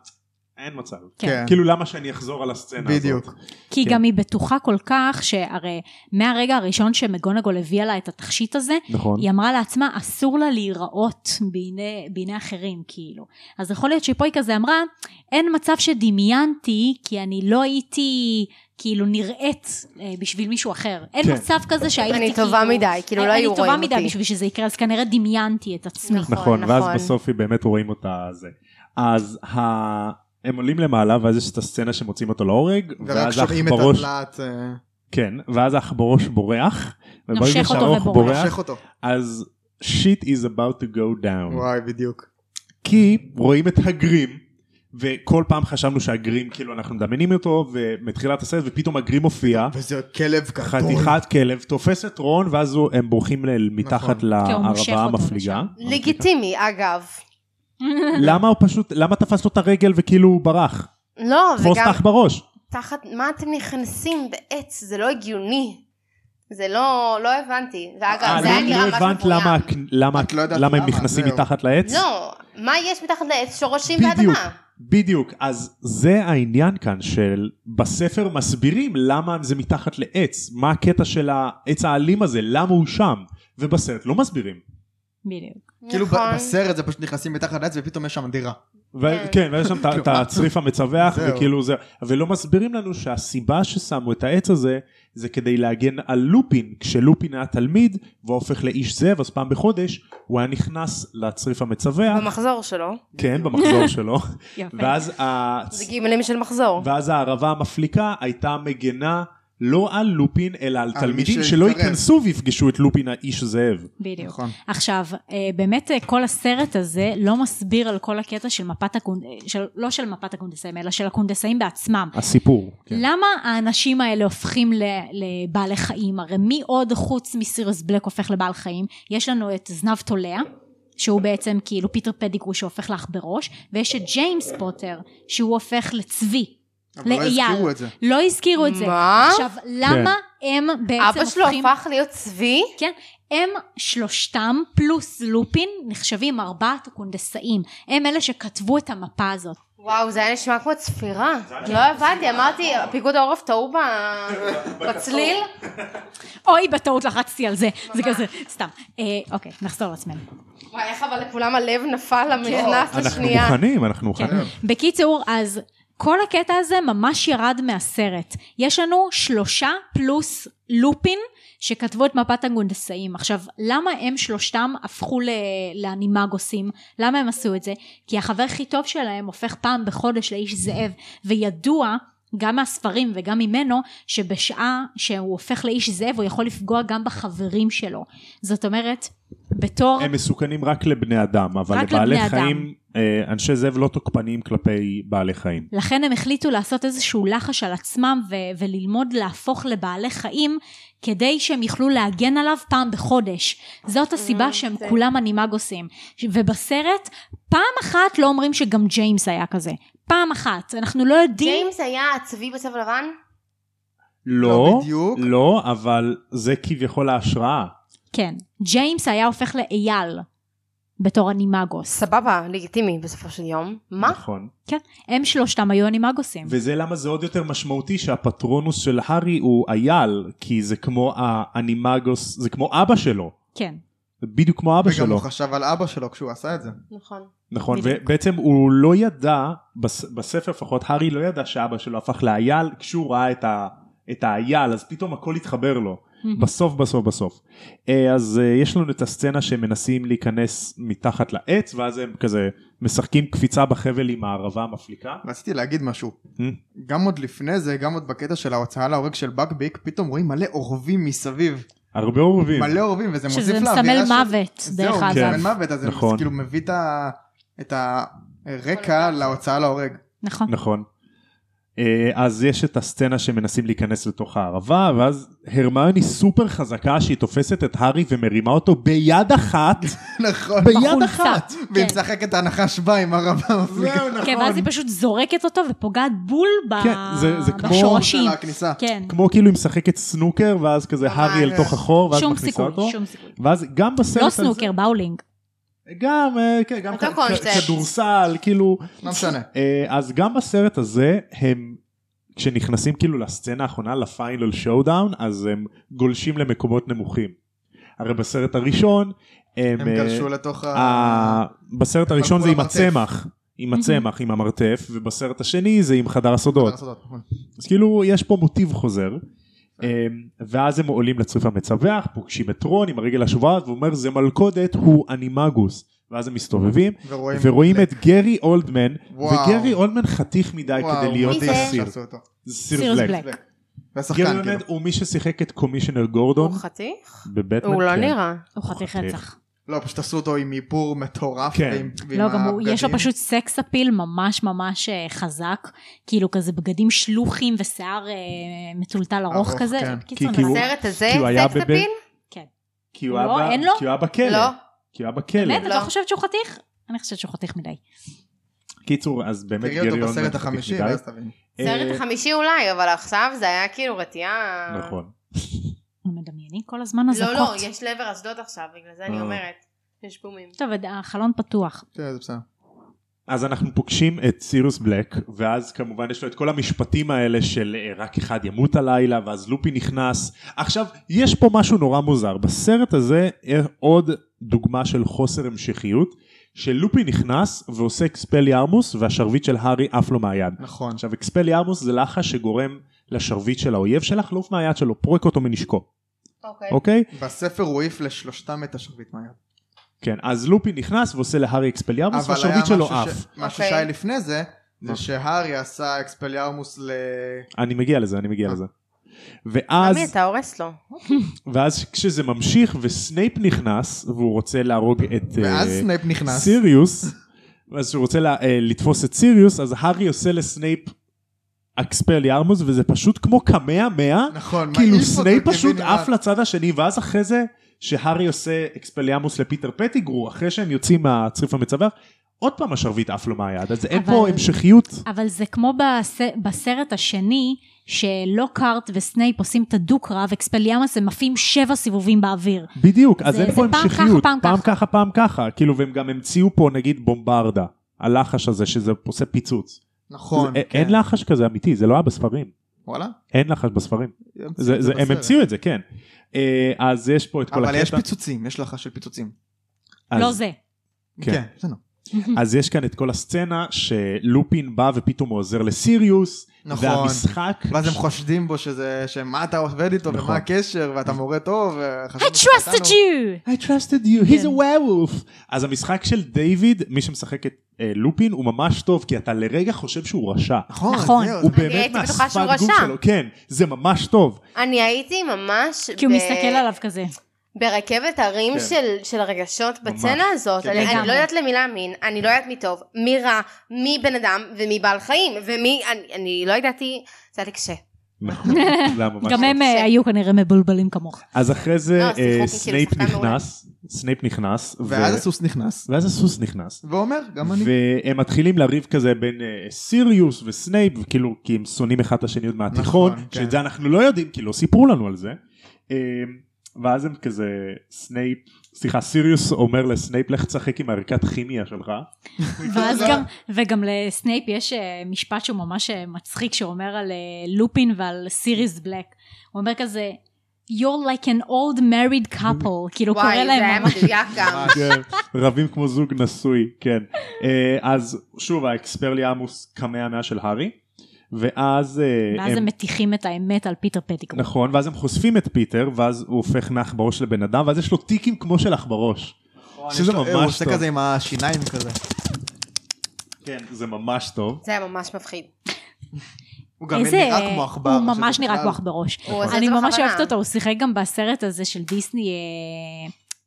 C: אין מצב.
B: כן.
C: כאילו למה שאני אחזור על הסצנה הזאת?
B: בדיוק.
D: כי
C: כן.
D: גם היא בטוחה כל כך שהרי מהרגע הראשון שמגונגול הביאה לה את התכשיט הזה,
C: נכון.
D: היא אמרה לעצמה אסור לה להיראות בעיני, בעיני אחרים כאילו אז יכול להיות שפה היא כזה אמרה אין מצב שדמיינתי כי אני לא הייתי כאילו נראית אה, בשביל מישהו אחר אין
C: כן.
D: מצב כזה שהייתי
A: אני
D: כאילו,
A: טובה מדי, כאילו לא
D: אני-
A: היו רואים
D: אני טובה מדי
A: אותי.
D: בשביל שזה יקרה אז כנראה דמיינתי את עצמי
A: נכון.
C: נכון, ואז
A: נכון.
C: בסוף היא באמת רואים אותה זה. אז ה... הם עולים למעלה ואז יש את הסצנה שמוצאים אותו להורג,
B: ורק
C: ואז
B: שומעים את
C: העכברוש,
B: הדלעת, אה,
C: כן, ואז העכברוש בורח, וברגע
D: נושך אותו
C: שהעכברוש
D: ובורח.
B: מושך אותו.
C: אז shit is about to go down.
B: וואי, בדיוק.
C: כי רואים את הגרים וכל פעם חשבנו שהגרים כאילו אנחנו מדמיינים אותו ומתחילת הסרט ופתאום הגרים מופיע
B: וזה כלב גדול.
C: חתיכת כלב תופס את רון ואז הוא- הם בורחים ל- מתחת
B: נכון.
D: כי הוא מושך
C: לערבה
D: אותו
C: המפליגה.
A: לגיטימי, אגב.
C: למה הוא פשוט למה תפס לו את הרגל וכאילו הוא ברח?
A: לא,
C: תפוס
A: וגם
C: אותך בראש.
A: תחת מה אתם נכנסים בעץ, זה לא הגיוני. זה לא, לא הבנתי. ואגב,
C: אה,
A: זה היה
C: לא-
A: נראה
C: לא
A: משהו
C: הבנת למה
A: מבוים.
C: הק- למה-
B: את לא יודעת
C: למה הם
B: למה,
C: נכנסים
B: זהו.
C: מתחת לעץ?
A: לא, מה יש מתחת לעץ? שורשים
C: בדיוק,
A: ואדמה.
C: בדיוק, אז זה העניין כאן של בספר מסבירים למה זה מתחת לעץ, מה הקטע של העץ האלים הזה, למה הוא שם, ובסרט לא מסבירים.
D: בדיוק
B: כאילו ב-
A: נכון.
B: בסרט זה פשוט נכנסים מתחת לעץ ופתאום יש שם דירה.
C: ו- כן, ויש שם את ה- את הצריף המצווח,
B: זהו.
C: וכאילו זה, ולא מסבירים לנו שהסיבה ששמו את העץ הזה, זה כדי להגן על לופין, כשלופין היה תלמיד, והוא הופך לאיש זאב, אז פעם בחודש, הוא היה נכנס לצריף המצווח,
A: במחזור שלו.
C: כן, במחזור שלו,
D: יפה
C: ואז הצ-
A: זה גימלים של מחזור.
C: ואז הערבה המפליקה הייתה מגנה לא על לופין, אלא על
B: מי
C: תלמידים
B: שהתקרב.
C: שלא ייכנסו ויפגשו את לופין האיש זאב.
D: בדיוק
B: נכון.
D: עכשיו, אה, באמת אה, כל הסרט הזה לא מסביר על כל הקטע של מפת הקונדסאים, של, לא של מפת הקונדסאים, אלא של הקונדסאים בעצמם.
C: הסיפור.
D: כן. למה האנשים האלה הופכים ל, לבעלי חיים? הרי מי עוד חוץ מסיריוס בלק הופך לבעל חיים? יש לנו את זנב תולע, שהוא בעצם כאילו פיטר פדיגרו שהופך לך בראש, ויש את ג'יימס פוטר, שהוא הופך לצבי.
B: אבל לא
D: לאייל.
B: הזכירו את זה.
D: לא הזכירו את זה.
A: מה?
D: עכשיו, למה הם בעצם הופכים...
A: אבא שלו הפך להיות צבי?
D: כן? הם שלושתם פלוס לופין נחשבים ארבעת הקונדסאים. הם אלה שכתבו את המפה הזאת.
A: וואו, זה היה נשמע כמו צפירה. לא הבנתי, אמרתי, פיקוד העורף טעו ב- בצליל?
D: אוי, בטעות לחצתי על זה. זה כזה, סתם. אה, אוקיי, נחזור לעצמנו.
A: וואי, איך אבל לכולם הלב נפל למכנס
C: אנחנו
A: לשנייה.
C: מוכנים, אנחנו
D: כן.
C: מוכנים.
D: אוקיי. בקיצור, אז כל הקטע הזה ממש ירד מהסרט. יש לנו שלושה פלוס לופין שכתבו את מפת הגונדסאים. עכשיו, למה הם שלושתם הפכו ל- לאנימגוסים? למה הם עשו את זה? כי החבר הכי טוב שלהם הופך פעם בחודש לאיש זאב, וידוע גם מהספרים וגם ממנו, שבשעה שהוא הופך לאיש זאב, הוא יכול לפגוע גם בחברים שלו. זאת אומרת, בתור...
C: הם מסוכנים רק לבני אדם, אבל
D: רק
C: לבעלי
D: לבני אדם.
C: חיים, אה, אנשי זאב לא תוקפניים כלפי בעלי חיים.
D: לכן הם החליטו לעשות איזשהו לחש על עצמם ו- וללמוד להפוך לבעלי חיים כדי שהם יוכלו להגן עליו פעם בחודש. זאת הסיבה שהם
A: Mm, זה-
D: כולם אנימגוסים. ש- ובסרט פעם אחת לא אומרים שגם ג'יימס היה כזה. פעם אחת. אנחנו לא יודעים...
A: ג'יימס היה הצבי בצבע לבן?
C: לא,
B: בדיוק.
C: לא, אבל זה כביכול ההשראה.
D: כן. ג'יימס היה הופך לאייל בתור אנימגוס.
A: סבבה, לגיטימי בסופו של יום. מה?
C: נכון.
D: הם שלושתם היו אנימגוסים.
C: וזה למה זה עוד יותר משמעותי שהפטרונוס של הארי הוא אייל, כי זה כמו האנימגוס, זה כמו אבא שלו.
D: כן.
C: זה בדיוק כמו אבא
B: וגם
C: שלו.
B: הוא חשב על אבא שלו כשהוא עשה את זה.
A: נכון.
C: נכון,
D: בדיוק.
C: ובעצם הוא לא ידע, בס- בספר לפחות, הארי לא ידע שאבא שלו הפך לאייל, כשהוא ראה את, ה, את האייל, אז פתאום הכל התחבר לו. בסוף בסוף בסוף. אה, אז אה, יש לנו את הסצנה שמנסים להיכנס מתחת לעץ ואז הם כזה משחקים קפיצה בחבל עם הערבה המפליקה.
B: רציתי להגיד משהו.
C: Hmm?
B: גם עוד לפני זה, גם עוד בקטע של ההוצאה להורג של בקביק, פתאום רואים מלא אורבים מסביב.
C: הרבה אורבים.
B: מלא אורבים, וזה מוסיף
D: שזה
B: לאווירה
D: מסמל
B: של-
D: מוות, דרך
B: זהו,
C: כן.
D: אגב.
B: מסמל מוות, אז זה
C: נכון.
B: כאילו מביא את ה- את הרקע להוצאה להורג.
D: נכון.
C: נכון. אה, אז יש את הסצנה שמנסים להיכנס לתוך הערבה ואז הרמיוני סופר חזקה שהיא תופסת את הארי ומרימה אותו ביד אחת
B: נכון.
C: ביד
D: בחולצה.
C: אחת.
B: והיא
D: כן.
B: משחקת את הנחש בא עם הרבה מפליקה.
D: כן, ואז היא פשוט זורקת אותו ופוגעת בול ב-
C: נכון. כן, זה- זה כמו-
D: בשורשים.
B: של הכניסה.
D: כן.
C: כמו כאילו היא משחקת סנוקר ואז כזה
B: ממש.
C: הארי אל תוך החור ואז
D: לא, שום
C: מכניסה
D: סיכוי,
C: אותו.
D: שום סיכוי.
C: ואז גם בסרט
D: לא
C: הזה-
D: סנוקר, באולינג.
C: גם, אה, כן, גם
A: אותו
C: כ-
A: קונספט.
C: כ- כדורסל, כאילו,
B: לא משנה.
C: אה, אז גם בסרט הזה הם, כשנכנסים כאילו לסצנה האחרונה, לפיינל שואודאון, אז הם גולשים למקומות נמוכים. הרי בסרט הראשון, הם,
B: הם
C: אה,
B: גלשו לתוך ה...
C: ה... בסרט הראשון זה עם
B: למרתף.
C: הצמח, עם הצמח, עם המרתף, ובסרט השני זה עם חדר הסודות.
B: לעשות עוד.
C: אז כאילו יש פה מוטיב חוזר. אמ, ואז הם עולים לצריף המצווח, פוגשים את רון עם הרגל השובעת, והוא אומר זה מלכודת, הוא אנימגוס. ואז הם מסתובבים
B: ורואים
C: ורואים את גרי אולדמן,
B: וואו.
C: וגרי אולדמן חתיך מדי
B: וואו,
C: כדי להיות
A: מדהים.
C: אסיר.
B: שעשו אותו.
C: זה
D: סיריוס
C: סיריוס בלק.
D: בלק.
C: גרי
B: והשחקן
C: אולדמן
B: כאילו.
C: הוא מי ששיחק את קומישיונר גורדון
A: הוא חתיך?
C: בבטמן.
A: הוא לא
C: כן.
A: נראה.
D: הוא חתיך
C: חתיך.
D: רצח.
B: לא, פשוט עשו אותו עם איפור מטורף.
C: כן.
B: ועם- ועם
D: לא, גם הוא,
B: הבגדים.
D: יש לו פשוט סקס אפיל ממש ממש אה, חזק. כאילו כזה בגדים שלוחים ושיער אה, מטולטל ארוך
B: ארוך,
D: כזה.
B: כן.
D: בקיצור,
C: כי- כי הוא-
D: נראה-
A: הסרט הזה,
C: כי הוא היה
A: סקס
C: בבית-
A: אפיל?
C: כי הוא
D: לא,
C: היה ב-
D: אין לו?
C: כי הוא היה
A: לא.
C: בכלא. כי הוא היה בכלא.
D: באמת? את לא
A: לא.
D: חושבת שהוא חתיך? אני חושבת שהוא חתיך מדי.
C: קיצור, אז באמת גרי
B: תראי אותו
C: אולדמן
B: בסרט
C: חתיך
B: החמישי,
C: מדי.
B: ואז תבין.
C: אה,
A: סרט חמישי אולי, אבל עכשיו זה היה כאילו רתיעה.
C: נכון.
D: אנחנו מדמיינים כל הזמן אזעקות.
A: לא, לא, יש לבר אשדוד עכשיו, בגלל זה אני
C: אה.
A: אומרת. יש בומים.
D: טוב, החלון פתוח.
B: כן, זה בסדר.
C: אז אנחנו פוגשים את סיריוס בלק ואז כמובן יש לו את כל המשפטים האלה של אה, רק אחד ימות הלילה ואז לופי נכנס עכשיו יש פה משהו נורא מוזר בסרט הזה אה, עוד דוגמה של חוסר המשכיות שלופי נכנס ועושה אקספל ירמוס והשרביט של הארי עף לו מהיד
B: נכון.
C: עכשיו אקספל ירמוס זה לחש שגורם לשרביט של האויב שלך לעוף מהיד שלו פורק אותו מנשקו
A: אוקיי.
C: אוקיי
B: בספר הוא העיף לשלושתם את השרביט מהיד.
C: כן אז לופי נכנס ועושה להארי אקספל ירמוס
B: אבל היה
C: והשרביט שלו
B: משהו
C: עף
B: ש- משהו
A: אוקיי.
B: שהיה לפני זה, זה
C: מה?
B: שהארי עשה אקספליארמוס ל...
C: אני מגיע לזה אני מגיע
B: אה.
C: לזה ואז
A: עמי, אתה הורס לו.
C: ואז כשזה ממשיך וסנייפ נכנס והוא רוצה להרוג את
B: ואז
C: אה,
B: סנייפ נכנס.
C: סיריוס, אז שהוא רוצה לה, אה, לתפוס את סיריוס אז הארי עושה לסנייפ אקספל ירמוס וזה פשוט כמו קמע מאה
B: נכון.
C: כאילו
B: מעיף אותו
C: סנייפ
B: כבן
C: פשוט
B: נראה.
C: עף לצד השני ואז אחרי זה שהארי עושה אקספל ירמוס לפיטר פטיגרו אחרי שהם יוצאים מהצריף המצווח עוד פעם השרביט עף לו מהיד אז אין
D: אבל-
C: פה המשכיות
D: אבל זה כמו בס... בסרט השני, שלוקהרט וסנייפ עושים את הדו-קרב, אקספליאמוס הם עפים שבע סיבובים באוויר.
C: בדיוק אז
D: זה-
C: אין
D: זה
C: פה
D: פעם ככה,
C: המשכיות
D: פעם
C: פעם
D: ככה.
C: ככה פעם ככה כאילו והם גם המציאו פה נגיד בומברדה הלחש הזה שזה עושה פיצוץ
B: נכון.
C: זה- אה,
B: כן.
C: אין לחש כזה אמיתי זה לא היה בספרים
B: וואלה?
C: אין לחש בספרים זה- זה- הם
B: בסרט.
C: המציאו את זה כן אה, אז יש פה את כל
B: אבל יש
C: הקטע
B: פיצוצים, יש לך של פיצוצים.
C: אז-
D: לא זה.
C: כן.
B: כן, בסדר.
C: אז יש כאן את כל הסצנה שלופין בא ופתאום הוא עוזר לסיריוס
B: נכון.
C: והמשחק
B: ואז הם חושדים בו שזה, שמה אתה עובד איתו
C: נכון.
B: ומה הקשר ואתה מורה טוב.
D: I trusted you!
C: I trusted you, he's
D: כן.
C: a werewolf. אז המשחק של דיוויד, מי שמשחק את אה, לופין, הוא ממש טוב, כי אתה לרגע חושב שהוא רשע.
B: נכון,
D: נכון.
B: זהו,
C: הוא
B: זה-
C: באמת
A: הייתי בטוחה שהוא
C: מהשפת גוף
A: רשע.
C: שלו, כן, זה ממש טוב.
A: אני הייתי ממש...
D: כי הוא
A: ב-
D: מסתכל עליו כזה.
A: ברכבת הרים
C: כן.
A: של, של הרגשות
C: ממש.
A: בצנה הזאת,
B: כן,
A: אני,
D: לגמרי.
A: אני לא יודעת למי להאמין, אני לא יודעת מי טוב, מי רע, מי בן אדם ומי בעל חיים, ומי, אני, אני לא ידעתי, זה היה לי קשה.
C: נכון, זה היה ממש
D: גם
C: טוב.
D: הם אה, היו כנראה מבולבלים כמוך.
C: אז אחרי זה
A: לא,
C: אה,
A: שיחוק הוא
C: סנייפ
A: כאילו שחקן מעולה.
C: נכנס, סנייפ נכנס, ו-
B: ואז הסוס נכנס,
C: ואז הסוס נכנס.
B: ואומר, גם אני.
C: והם מתחילים לריב כזה בין אה, סיריוס וסנייפ, כאילו כי הם שונאים אחד את השני עוד מהתיכון,
B: נכון, כן.
C: שאת זה אנחנו לא יודעים, כי לא סיפרו לנו על זה. אה, ואז הם כזה, סנייפ, סליחה, סיריוס אומר לסנייפ, לך תשחק עם ערכת כימיה שלך.
D: ואז
B: לא.
D: גם, וגם לסנייפ יש אה, משפט שהוא ממש אה, מצחיק, שהוא אומר על אה, לופין ועל סיריס בלק. הוא אומר כזה, You're like an old married couple, כאילו הוא קורא
A: וואי, זה היה
D: להם ממש.
A: מדויק גם.
C: כן, רבים כמו זוג נשוי, כן. אה, אז שוב, האקספרלי עמוס קמע מאה של הארי. ואז אה,
D: ואז הם
C: הם...
D: מטיחים את האמת על פיטר פטיגרו.
C: נכון, ואז הם חושפים את פיטר, ואז הוא הופך מעכברוש לבן אדם, ואז יש לו טיקים כמו של עכברוש. שזה
B: נכון, יש לו- הוא
C: ממש
B: עושה
C: טוב.
B: כזה עם השיניים כזה.
C: כן, זה ממש טוב.
A: זה היה ממש מפחיד.
B: הוא גם נראה כמו עכבר.
D: הוא
B: שזה
D: ממש נראה
B: בכלל-
D: כמו עכברוש.
A: הוא עושה את
D: אני
A: זה
D: ממש
A: בכוונה.
D: אוהבת אותו, הוא שיחק גם בסרט הזה של דיסני,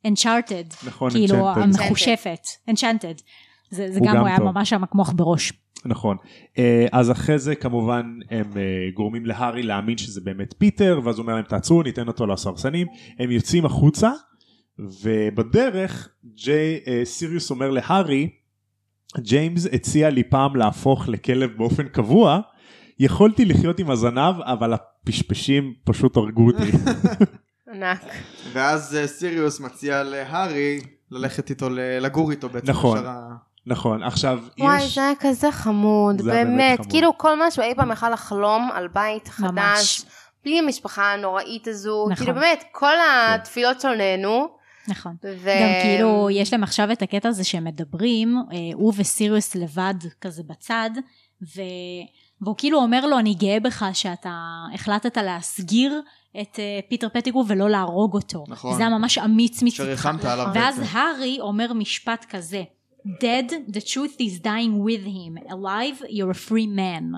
D: אה, Enchanted.
C: נכון,
D: כאילו,
C: Enchanted.
D: המחושפת. Enchanted. זה זה
C: הוא
D: גם,
C: גם
D: הוא היה
C: טוב.
D: ממש שם כמו עכברוש.
C: נכון. אה, אז אחרי זה כמובן הם אה, גורמים להארי להאמין שזה באמת פיטר, ואז הוא אומר להם תעצרו, ניתן אותו לסרסנים. הם יוצאים החוצה, ובדרך ג'יי, אה, סיריוס אומר להארי, ג'יימס הציע לי פעם להפוך לכלב באופן קבוע, יכולתי לחיות עם הזנב, אבל הפשפשים פשוט הרגו אותי.
A: ענק.
B: ואז אה, סיריוס מציע להארי ללכת איתו, ל- לגור איתו בעצם.
C: נכון.
B: בשאר ה-
C: נכון, עכשיו
A: וואי,
C: יש...
A: זה היה כזה חמוד,
C: זה היה באמת
A: באמת.
C: חמוד.
A: כאילו כל מה שהוא אי פעם יכל לחלום על בית
D: ממש.
A: חדש, בלי המשפחה הנוראית הזו.
D: נכון.
A: כאילו באמת, כל התפילות שלו נהנו.
D: נכון.
A: ו...
D: גם כאילו יש להם עכשיו את הקטע הזה שהם מדברים, אה, הוא וסיריוס לבד כזה בצד, ו... והוא כאילו אומר לו אני גאה בך שאתה החלטת להסגיר את אה, פיטר פטיגרו ולא להרוג אותו.
B: נכון.
D: זה היה ממש אמיץ מצדך.
B: שריחמת עליו
A: נכון.
D: ואז
B: בעצם.
D: הארי אומר משפט כזה, Dead, the truth is dying with him, alive, you're a free man.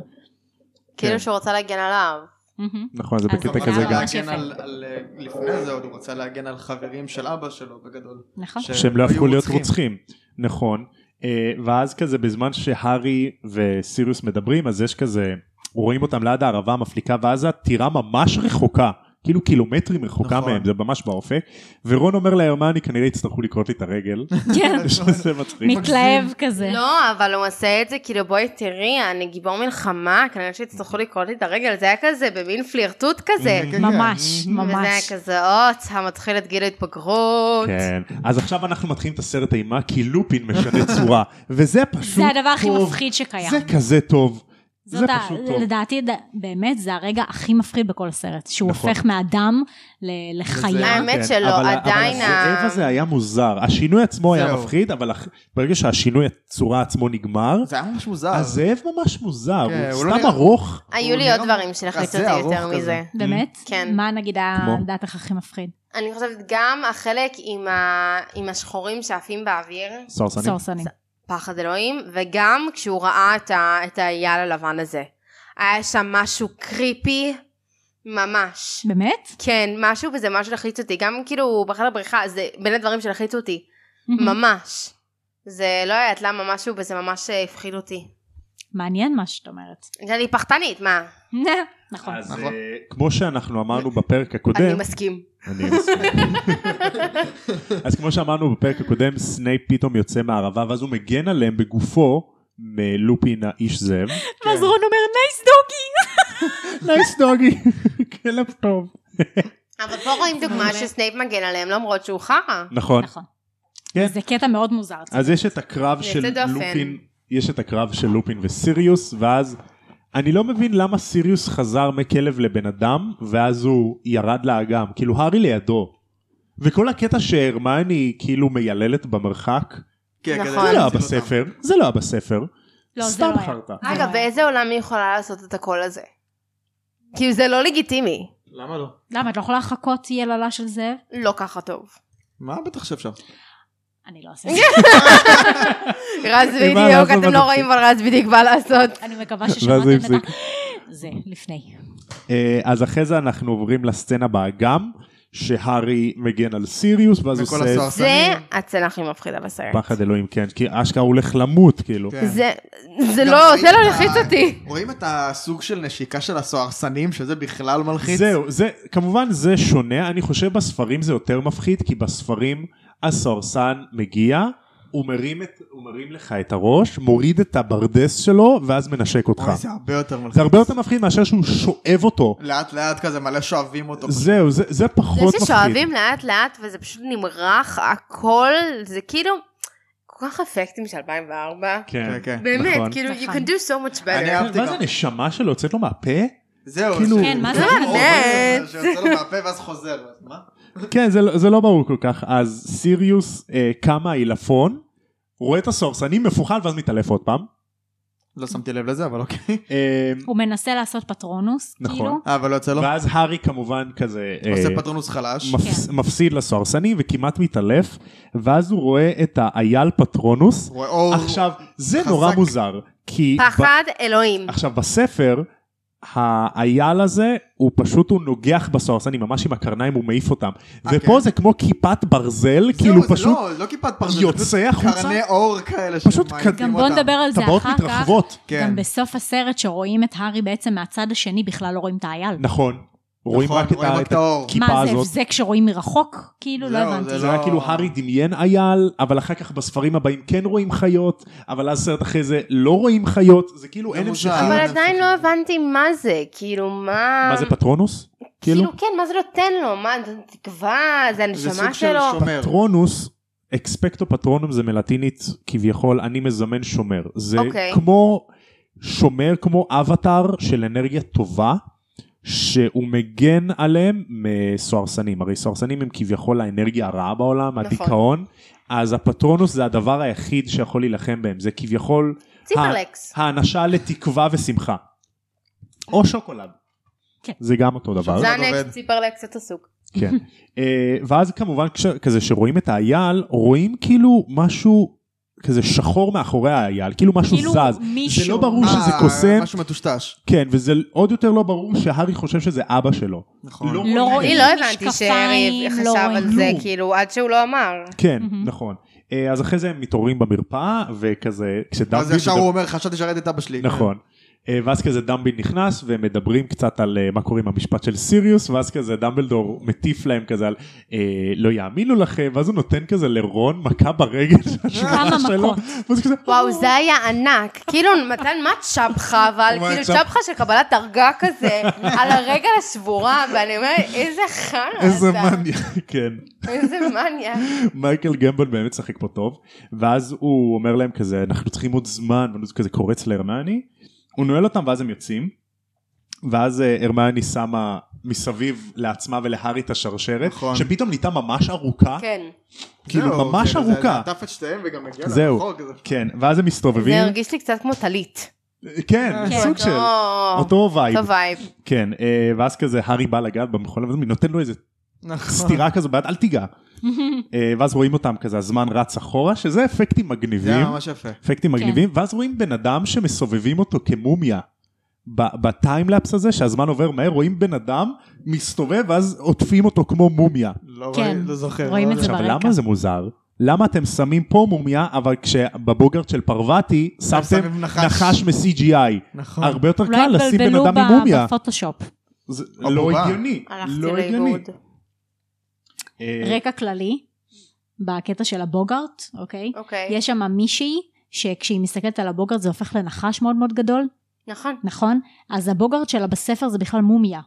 A: כאילו
C: כן.
A: שהוא רצה להגן עליו.
D: מהמם.
C: נכון, זה
D: אז
C: בקטע
D: אבל
C: כזה
D: למה?
C: גם.
D: ממש
B: להגן
D: יפה.
B: על- על, אה, לפני זה עוד הוא רצה להגן על חברים של אבא שלו בגדול.
D: נכון.
B: ש-
C: שהם לא
B: כן, היו
C: הפכו להיות
B: רוצחים.
C: רוצחים. נכון. אה, ואז כזה בזמן שהארי וסיריוס מדברים אז יש כזה רואים אותם ליד הערבה המפליקה ואז הטירה ממש רחוקה. כאילו קילומטרים רחוקה
B: נכון.
C: מהם זה ממש באופק ורון אומר להרמני כנראה יצטרכו לכרות לי את הרגל
B: נכון.
D: כן,
C: שזה מצחיק.
D: מתלהב כזה.
A: לא, אבל הוא עושה את זה, כאילו בואי תראי, אני גיבור מלחמה, כנראה שיצטרכו לקרוא לי את הרגל, זה היה כזה במין פלירטוט
C: Mm.
A: כזה.
B: כן, כן.
D: ממש,
A: וזה היה
D: ממש.
A: כזה, אוץ, המתחיל את גיל ההתבגרות.
C: כן אז עכשיו אנחנו מתחילים את הסרט אימה כי לופין משנה צורה וזה פשוט
D: זה הדבר הכי
C: טוב.
D: מפחיד שקיים.
C: זה כזה טוב. זה
D: זאת ה-
C: פשוט טוב.
D: לדעתי, ד- באמת, זה הרגע הכי מפחיד בכל הסרט, שהוא
C: נכון.
D: הופך מאדם ל- לחיה.
A: האמת
C: כן,
A: שלא,
C: אבל-
A: עדיין
C: אבל הזאב
A: ה-
C: הזה היה מוזר. השינוי עצמו היה
B: זהו.
C: מפחיד, אבל אח- ברגע שהשינוי הצורה עצמו נגמר,
B: זה היה ממש מוזר.
C: הזאב ממש מוזר,
B: כן,
C: הוא
B: הוא לא
C: סתם
B: נראה-
C: ארוך.
A: היו לי
B: נראה
A: עוד דברים שלחצו
B: כזה
A: אותי יותר
B: ארוך
A: מזה.
B: כזה.
D: באמת?
A: כן.
D: מה נגיד
C: כמו?
D: הדעתך הכי מפחיד?
A: אני חושבת גם החלק עם ה- עם השחורים שעפים באוויר,
C: סרסנים.
D: סורסנים.
A: פחד אלוהים, וגם כשהוא ראה את ה- את האייל הלבן הזה. היה שם משהו קריפי, ממש.
D: באמת?
A: כן, משהו וזה משהו לחץ אותי, גם כאילו בחדר בריכה, זה בין הדברים שלחיצו אותי, ממש. זה לא יודעת למה משהו וזה ממש אה, הפחיד אותי.
D: מעניין מה שאת אומרת.
A: אני פחדנית, מה?
D: נכון.
C: אז
B: נכון.
C: אה, כמו שאנחנו אמרנו בפרק
A: אני
C: הקודם,
A: מסכים.
C: אני מסכים. אז כמו שאמרנו בפרק הקודם, סנייפ פתאום יוצא מהערבה, ואז הוא מגן עליהם בגופו מלופין האיש זאב. כן.
D: ואז רון אומר, נייס דוגי!
C: נייס דוגי, כלב טוב.
A: אבל פה רואים דוגמה
D: מעולה.
A: שסנייפ מגן עליהם למרות שהוא חרא.
C: נכון.
D: נכון.
C: כן.
D: זה קטע מאוד מוזר.
C: אז יש את הקרב
A: יוצא
C: של
A: דופן.
C: לופין, יש את הקרב של לופין וסיריוס, ואז אני לא מבין למה סיריוס חזר מכלב לבן אדם, ואז הוא ירד לאגם, כאילו הארי לידו. וכל הקטע שהרמני כאילו מייללת במרחק,
B: כן, כדי
A: נכון.
B: להציל
C: זה לא היה
B: אותם.
C: בספר, זה לא היה בספר,
D: לא, זה
C: סתם
D: לא היה.
C: חרטא.
A: אגב, באיזה עולם היא יכולה לעשות את הקול הזה? כאילו זה לא לגיטימי.
B: למה לא?
D: למה, את לא יכולה לחכות יללה של זאב?
A: לא ככה טוב.
B: מה בטח שאפשר?
D: אני לא עושה את זה.
A: רז
C: אין מה
A: בדיוק,
C: לעשות,
A: אתם לא
C: אבל-
A: רואים אבל רז בדיוק בא לעשות.
D: אני מקווה
C: ואז הוא
D: ששמעתם את
C: הפסיק.
D: ה... זה, לפני.
C: אה, אז אחרי זה אנחנו עוברים לסצנה באגם, שהארי מגן על סיריוס, ואז הוא
B: וכל
C: עושה
B: הסוהר-
A: זה הצלם הכי מפחידה בסרט.
C: פחד אלוהים, כן, כי אשכרה הוא הולך למות, כאילו.
B: כן.
A: זה זה
B: גם
A: לא,
B: רואים
A: זה לא
B: את ה-
A: לחיץ אותי.
B: רואים את הסוג של נשיקה של הסוהרסנים, שזה בכלל מלחיץ?
C: זהו, זה, כמובן זה שונה, אני חושב בספרים זה יותר מפחיד, כי בספרים הסוהרסן מגיע, הוא מרים, את, הוא מרים לך את הראש, מוריד את הברדס שלו, ואז מנשק אותך.
B: אוי, זה הרבה יותר מלחיץ.
C: זה הרבה יותר מפחיד מאשר שהוא שואב אותו.
B: לאט לאט כזה מלא שואבים אותו.
C: זהו, זה, זה פחות
A: זה
C: מפחיד.
A: ששואבים לאט לאט וזה פשוט נמרח הכל, זה כאילו כל כך אפקטים של 2004.
B: כן, כן.
A: באמת,
C: נכון.
A: כאילו, you
D: נכון.
A: can do so much
B: אני
A: better.
B: אהבתי
C: ואז
B: גם.
C: הנשמה שלו יוצאת לו מהפה?
B: זהו.
C: כאילו-
B: ש-
D: כן, מה זה
B: אור
D: באמת?
B: כזה שיוצא לו מהפה ואז חוזר. מה?
C: כן, זה, לא- זה לא ברור כל כך. אז סיריוס אה, קם מהעילפון, רואה את הסוהרסנים מפוחד ואז מתעלף עוד פעם.
B: לא שמתי לב לזה, אבל אוקיי.
C: אה,
D: הוא מנסה לעשות פטרונוס,
C: נכון.
D: כאילו.
B: אה, אבל לא יוצא לו.
C: ואז הארי כמובן כזה... אה,
B: עושה פטרונוס חלש.
C: מפס-
D: כן.
C: מפסיד לסוהרסני וכמעט מתעלף, ואז הוא רואה את האייל פטרונוס.
B: רואה אור.
C: עכשיו, זה
B: חזק.
C: נורא מוזר, כי... ב-
A: פחד אלוהים.
C: עכשיו, בספר, האייל הזה, הוא פשוט, הוא נוגח בסוהרסני, ממש עם הקרניים, הוא מעיף אותם.
B: אה,
C: ופה
B: כן.
C: זה כמו כיפת ברזל,
B: זהו,
C: כאילו
B: זה
C: פשוט...
B: לא, לא כיפת פרזל.
C: יוצא
B: זה פשוט
C: החוצה.
B: קרני אור כאלה.
C: פשוט
B: שמעיפים
C: כ-
D: גם בוא
B: אותם.
D: נדבר על זה
C: טבעות
D: אחר כך.
C: מתרחבות.
B: כן.
D: גם בסוף הסרט שרואים את הארי בעצם מהצד השני בכלל לא רואים את האייל.
C: נכון. רואים רק את
B: רואים
C: ה-
B: רק
C: את
B: את האור.
C: הכיפה
D: מה זה
C: הזאת.
D: הבזק שרואים מרחוק? כאילו לא
B: זהו,
D: הבנתי.
B: זה
C: זה היה
B: לא-
C: כאילו הארי דמיין אייל, אבל אחר כך בספרים הבאים כן רואים חיות, אבל אז סרט אחרי זה לא רואים חיות, זה כאילו
B: זה
C: אין
B: מוזר.
C: המשכיות.
A: אבל
B: אני
A: עדיין
B: חושב.
A: לא הבנתי מה זה, כאילו מה...
C: מה זה פטרונוס? כאילו?
A: כאילו? כן, מה זה נותן לו? מה, זה תקווה, זה
B: זה
A: הנשמה
B: סוג של
A: שלו.
B: שומר.
C: פטרונוס, אקספקטו פטרונום זה מלטינית כביכול, אני מזמן שומר. זה
A: אוקיי.
C: כמו שומר, כמו אבטאר של אנרגיה טובה, שהוא מגן עליהם מסוהרסנים. הרי סוהרסנים הם כביכול האנרגיה הרעה בעולם,
A: נכון.
C: הדיכאון. אז הפטרונוס זה הדבר היחיד שיכול להילחם בהם, זה כביכול אה,
A: ציפרלקס.
C: האנשה לתקווה ושמחה. או שוקולד.
D: כן.
C: זה גם אותו דבר.
A: זה
B: עובד.
A: הנקסט, ציפרלקס את הסוג.
C: לא כן. אה, ואז כמובן כש- כזה שרואים את האייל, רואים כאילו משהו כזה שחור מאחורי האייל, כאילו משהו
D: כאילו
C: זז.
D: מישהו.
C: זה לא ברור
B: אה,
C: שזה קוסם.
B: משהו מטושטש.
C: כן, וזה עוד יותר לא ברור שהארי חושב שזה אבא שלו.
B: נכון.
C: לא
D: לא
A: אני
D: רואים
A: לא הבנתי שהרי
D: משקפיים, לא
A: חשב על
D: רואים.
A: זה,
C: כלום.
A: כאילו, עד שהוא לא אמר.
C: כן,
D: מהמם.
C: נכון. אה, אז אחרי זה הם מתעוררים במרפאה, וכזה, כשדמבי...
B: אז ישר
C: מדבר-
B: הוא אומר, חשבתי שרת את אבא שלי.
C: נכון. אה, ואז כזה דמבי נכנס והם מדברים קצת על אה, מה קורה עם המשפט של סיריוס ואז כזה דמבלדור מטיף להם כזה על אה, לא יאמינו לכם ואז הוא נותן כזה לרון מכה ברגל של השמרה
D: כמה
C: שלו.
D: מכות.
C: ואז כזה,
D: לא.
A: וואו, זה היה ענק. כאילו, מתן, מה צ'פחה, אבל
C: מה
A: כאילו,
C: צ'פחה?
A: צ'פחה של קבלת דרגה כזה, על הרגל השבורה, ואני אומרת, איזה חרא
C: "אה, איזה אה?
A: אתה.
C: מניה, כן.
A: איזה מניה.
C: מייקל גמבון באמת שחק פה טוב, ואז הוא אומר להם כזה, אנחנו צריכים עוד זמן, ואז הוא כזה קורץ להרמני, הוא נועל אותם ואז הם יוצאים, ואז אה, הרמני שמה מסביב לעצמה ולהארי את השרשרת,
B: נכון.
C: שפתאום נהייתה ממש ארוכה,
A: כן.
C: כאילו
B: זהו,
C: ממש
B: כן, זה-
C: ארוכה.
B: זה עטף את שתיהם וגם הגיע
C: זהו.
B: לרחוק. זה-
C: כן, ואז הם מסתובבים,
A: זה אה, הרגיש לי קצת כמו טלית. לא.
C: כן,
D: כן.
C: סוג של,
A: אותו
C: אותו וייב,
A: וייב. כן.
C: כן, אה, ואז כזה הארי בא לגעת במכונה, ואז הוא נותן לו איזה
B: נכון.
C: סטירה כזו ביד, אל תיגע, אה, ואז רואים אותם כזה, הזמן רץ אחורה, שזה אפקטים
B: זה
C: מגניבים,
B: היה ממש יפה.
C: אפקטים מגניבים, ואז רואים בן אדם שמסובבים אותו כמומיה. ב- בטיימלפס הזה שהזמן עובר מהר רואים בן אדם מסתובב ואז עוטפים אותו כמו מומיה.
B: לא
D: כן.
B: רואה- לא זוכר.
D: רואים
B: לא
D: את זה
B: יודע.
C: עכשיו
D: ברקע.
C: למה זה מוזר? למה אתם שמים פה מומיה אבל כשבבוגרט של פרווטי שמתם
B: שמים נחש.
C: נחש מ-CGI?
B: נכון.
C: הרבה יותר
D: אולי
C: קל לשים בן
D: לא התבלבלו
C: אדם
D: ב-
C: עם מומיה.
D: בפוטושופ.
C: זה לא
B: הבובה.
C: הגיוני.
A: הלכתי
C: לא הגיוני.
A: לאיבוד.
C: אה,
D: רקע כללי, בקטע של הבוגארט, אוקיי?
A: אוקיי.
D: יש שם מישהי שכשהיא מסתכלת על הבוגארט זה הופך לנחש מאוד מאוד גדול,
A: נכון.
D: נכון? אז הבוגארט שלה בספר זה בכלל מומיה.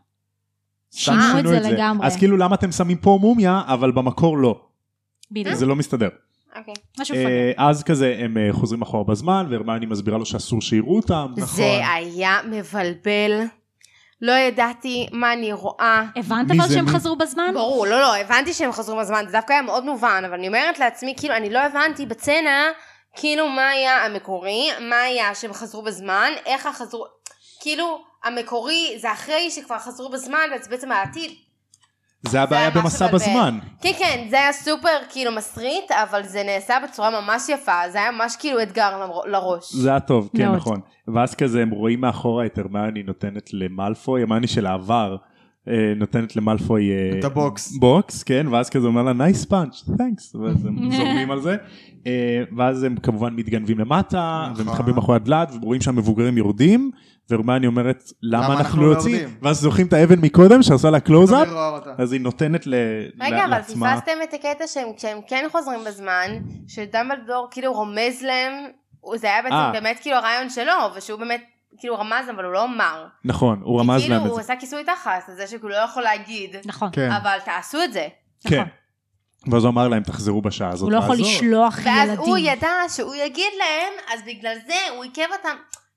C: סתם
D: שינו את זה לגמרי.
C: אז כאילו למה אתם שמים פה מומיה אבל במקור לא.
D: בדיוק.
C: זה לא מסתדר.
A: אוקיי.
D: משהו
C: אה,
D: פגע.
C: אז כזה הם אה, חוזרים אחורה בזמן והרמיוני מסבירה לו שאסור שיראו אותם.
A: זה היה מבלבל. לא ידעתי מה אני רואה.
D: הבנת
C: מי
D: אבל
C: זה
D: שהם
C: מי?
D: חזרו בזמן?
A: ברור, לא, לא, הבנתי שהם חזרו בזמן, זה דווקא היה מאוד מובן, אבל אני אומרת לעצמי, כאילו, אני לא הבנתי בצנע, כאילו, מה היה המקורי, מה היה שהם חזרו בזמן, איך החזרו, כאילו, המקורי זה אחרי שכבר חזרו בזמן, וזה בעצם העתיד.
C: זה הבעיה
A: היה משהו
C: במסע
A: מבלבל.
C: בזמן.
A: כן, כן, זה היה סופר, כאילו, מסריט, אבל זה נעשה בצורה ממש יפה, זה היה ממש כאילו אתגר למר- לראש.
C: זה היה טוב, כן
D: מאוד.
C: נכון. ואז כזה הם רואים מאחורה את הרמיוני נותנת למלפוי, הרמיוני של העבר אה, נותנת למלפוי אה,
B: את הבוקס.
C: בוקס, כן, ואז כזה אומר לה נייס פאנץ', תנקס, ואז הם זורמים על זה. אה, ואז הם כמובן מתגנבים למטה,
B: נכון.
C: ומתחבאים מאחורי הדלת, ורואים שהמבוגרים יורדים, והרמיוני אומרת למה אנחנו
B: לא
C: יוצאים,
B: יורדים?"
C: ואז זוכרים את האבן מקודם שעשה לה קלוזאפ,
B: לא רואה אותה.
C: אז היא נותנת ל-
A: רגע,
C: ל-
A: אבל
C: לעצמה.
A: פספסתם את הקטע שהם, כשהם כן חוזרים בזמן, שדמבלדור כאילו רומז להם, הוא- זה היה
C: אה.
A: בעצם באמת כאילו הרעיון שלו, ושהוא באמת כאילו רמז, אבל הוא לא אמר.
C: נכון, הוא
A: כי
C: רמז להם
A: כאילו
C: את
A: הוא
C: זה.
A: עשה כיסוי תחת, על זה שהוא לא יכול להגיד,
D: נכון.
B: כן.
A: אבל תעשו את זה.
C: כן.
D: נכון.
C: ואז הוא אמר להם תחזרו בשעה הזאת.
D: הוא לא יכול
C: לעזור."
D: לשלוח
A: ואז
D: ילדים.
A: הוא ידע שהוא יגיד להם, אז בגלל זה הוא עיכב אותם.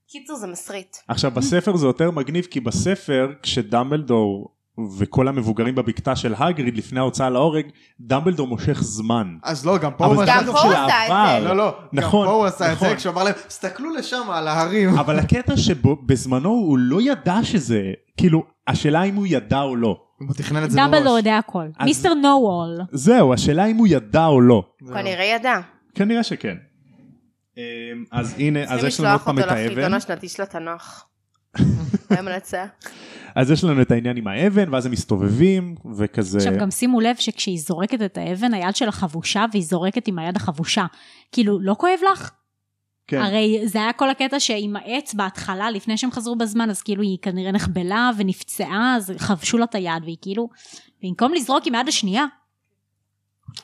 A: קיצור, זה מסריט.
C: עכשיו בספר זה יותר מגניב כי בספר כשדמבלדור וכל המבוגרים בבקתה של הגריד לפני ההוצאה להורג, דמבלדור מושך זמן.
B: אז לא, גם פה
C: אבל
B: הוא
C: זה
B: עשה את
A: גם
B: זה.
A: פה
C: של
A: הוא עשה את
C: העבר.
A: זה.
B: לא, לא.
C: נכון,
B: גם פה הוא עשה את זה
C: נכון.
B: כשהוא אמר להם, סתכלו לשם על ההרים.
A: לא.
C: אבל הקטע שבזמנו הוא לא ידע שזה, כאילו, השאלה אם הוא ידע או לא.
B: הוא תכנן את זה מראש.
D: דמבלדור יודע הכל.
C: אז-
D: מיסטר נו-וול.
C: זהו, השאלה אם הוא ידע או לא.
B: זהו.
A: כנראה ידע.
C: כנראה שכן. אמ, אז הנה, אז
A: צריכים
C: יש לנו עוד
A: לשלוח
C: פעם
A: אותו
C: את האבן.
A: לחידון השנתי של התנ"ך. המלצה.
C: אז יש לנו את העניין עם האבן, ואז הם מסתובבים, וכזה...
D: עכשיו גם שימו לב שכשהיא זורקת את האבן, היד שלה חבושה והיא זורקת עם היד החבושה. כאילו, לא כואב לך?
C: כן.
D: הרי זה היה כל הקטע שעם העץ בהתחלה, לפני שהם חזרו בזמן, אז כאילו היא כנראה נחבלה ונפצעה, אז חבשו לה את היד, והיא כאילו, במקום לזרוק עם היד השנייה,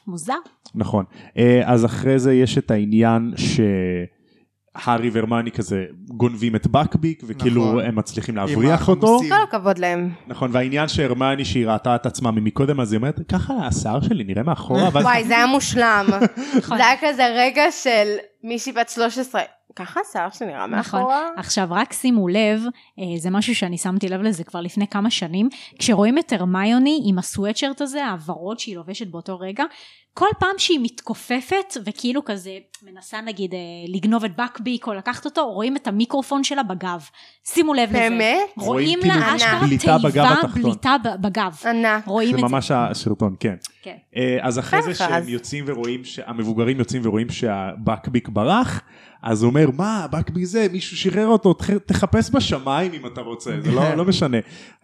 D: מוזר.
C: נכון. אה, אז אחרי זה יש את העניין שהארי והרמני כזה גונבים את בקביק, וכאילו
B: נכון.
C: הם מצליחים
B: עם
C: להבריח אותו.
B: החומוסים.
A: כל הכבוד להם.
C: נכון, והעניין שהרמני שהיא ראתה את עצמה ממקודם, אז היא אומרת, ככה השיער שלי נראה מאחורה, ואז
A: וואי, זה היה מושלם.
D: נכון.
A: זה היה כזה רגע של מישהי בת 13. ככה השיער שנראה
D: נכון.
A: מאחורה?
D: עכשיו רק שימו לב, אה, זה משהו שאני שמתי לב לזה כבר לפני כמה שנים, כשרואים את הרמיוני עם הסוואטשרט הזה, הוורוד שהיא לובשת באותו רגע, כל פעם שהיא מתכופפת וכאילו כזה מנסה נגיד אה, לגנוב את בקביק או לקחת אותו, רואים את המיקרופון שלה בגב. שימו לב לזה.
A: באמת?
D: רואים
C: רואים
D: לה
A: כאילו
D: אשכרה
C: בליטה בגב
D: תיבה
C: התחתון.
D: בליטה ב- בגב.
A: ענק.
D: רואים
C: זה
D: את
C: ממש השרטון, כן.
D: כן.
C: אה, אז אחרי זה
A: ככה,
C: שהם
A: אז-
C: יוצאים ורואים, ש- המבוגרים יוצאים ורואים שהבקביק ברח, אז הוא אומר, מה, הבקביק זה, מישהו שחרר אותו, תח- תחפש בשמיים אם אתה רוצה, זה לא, לא משנה.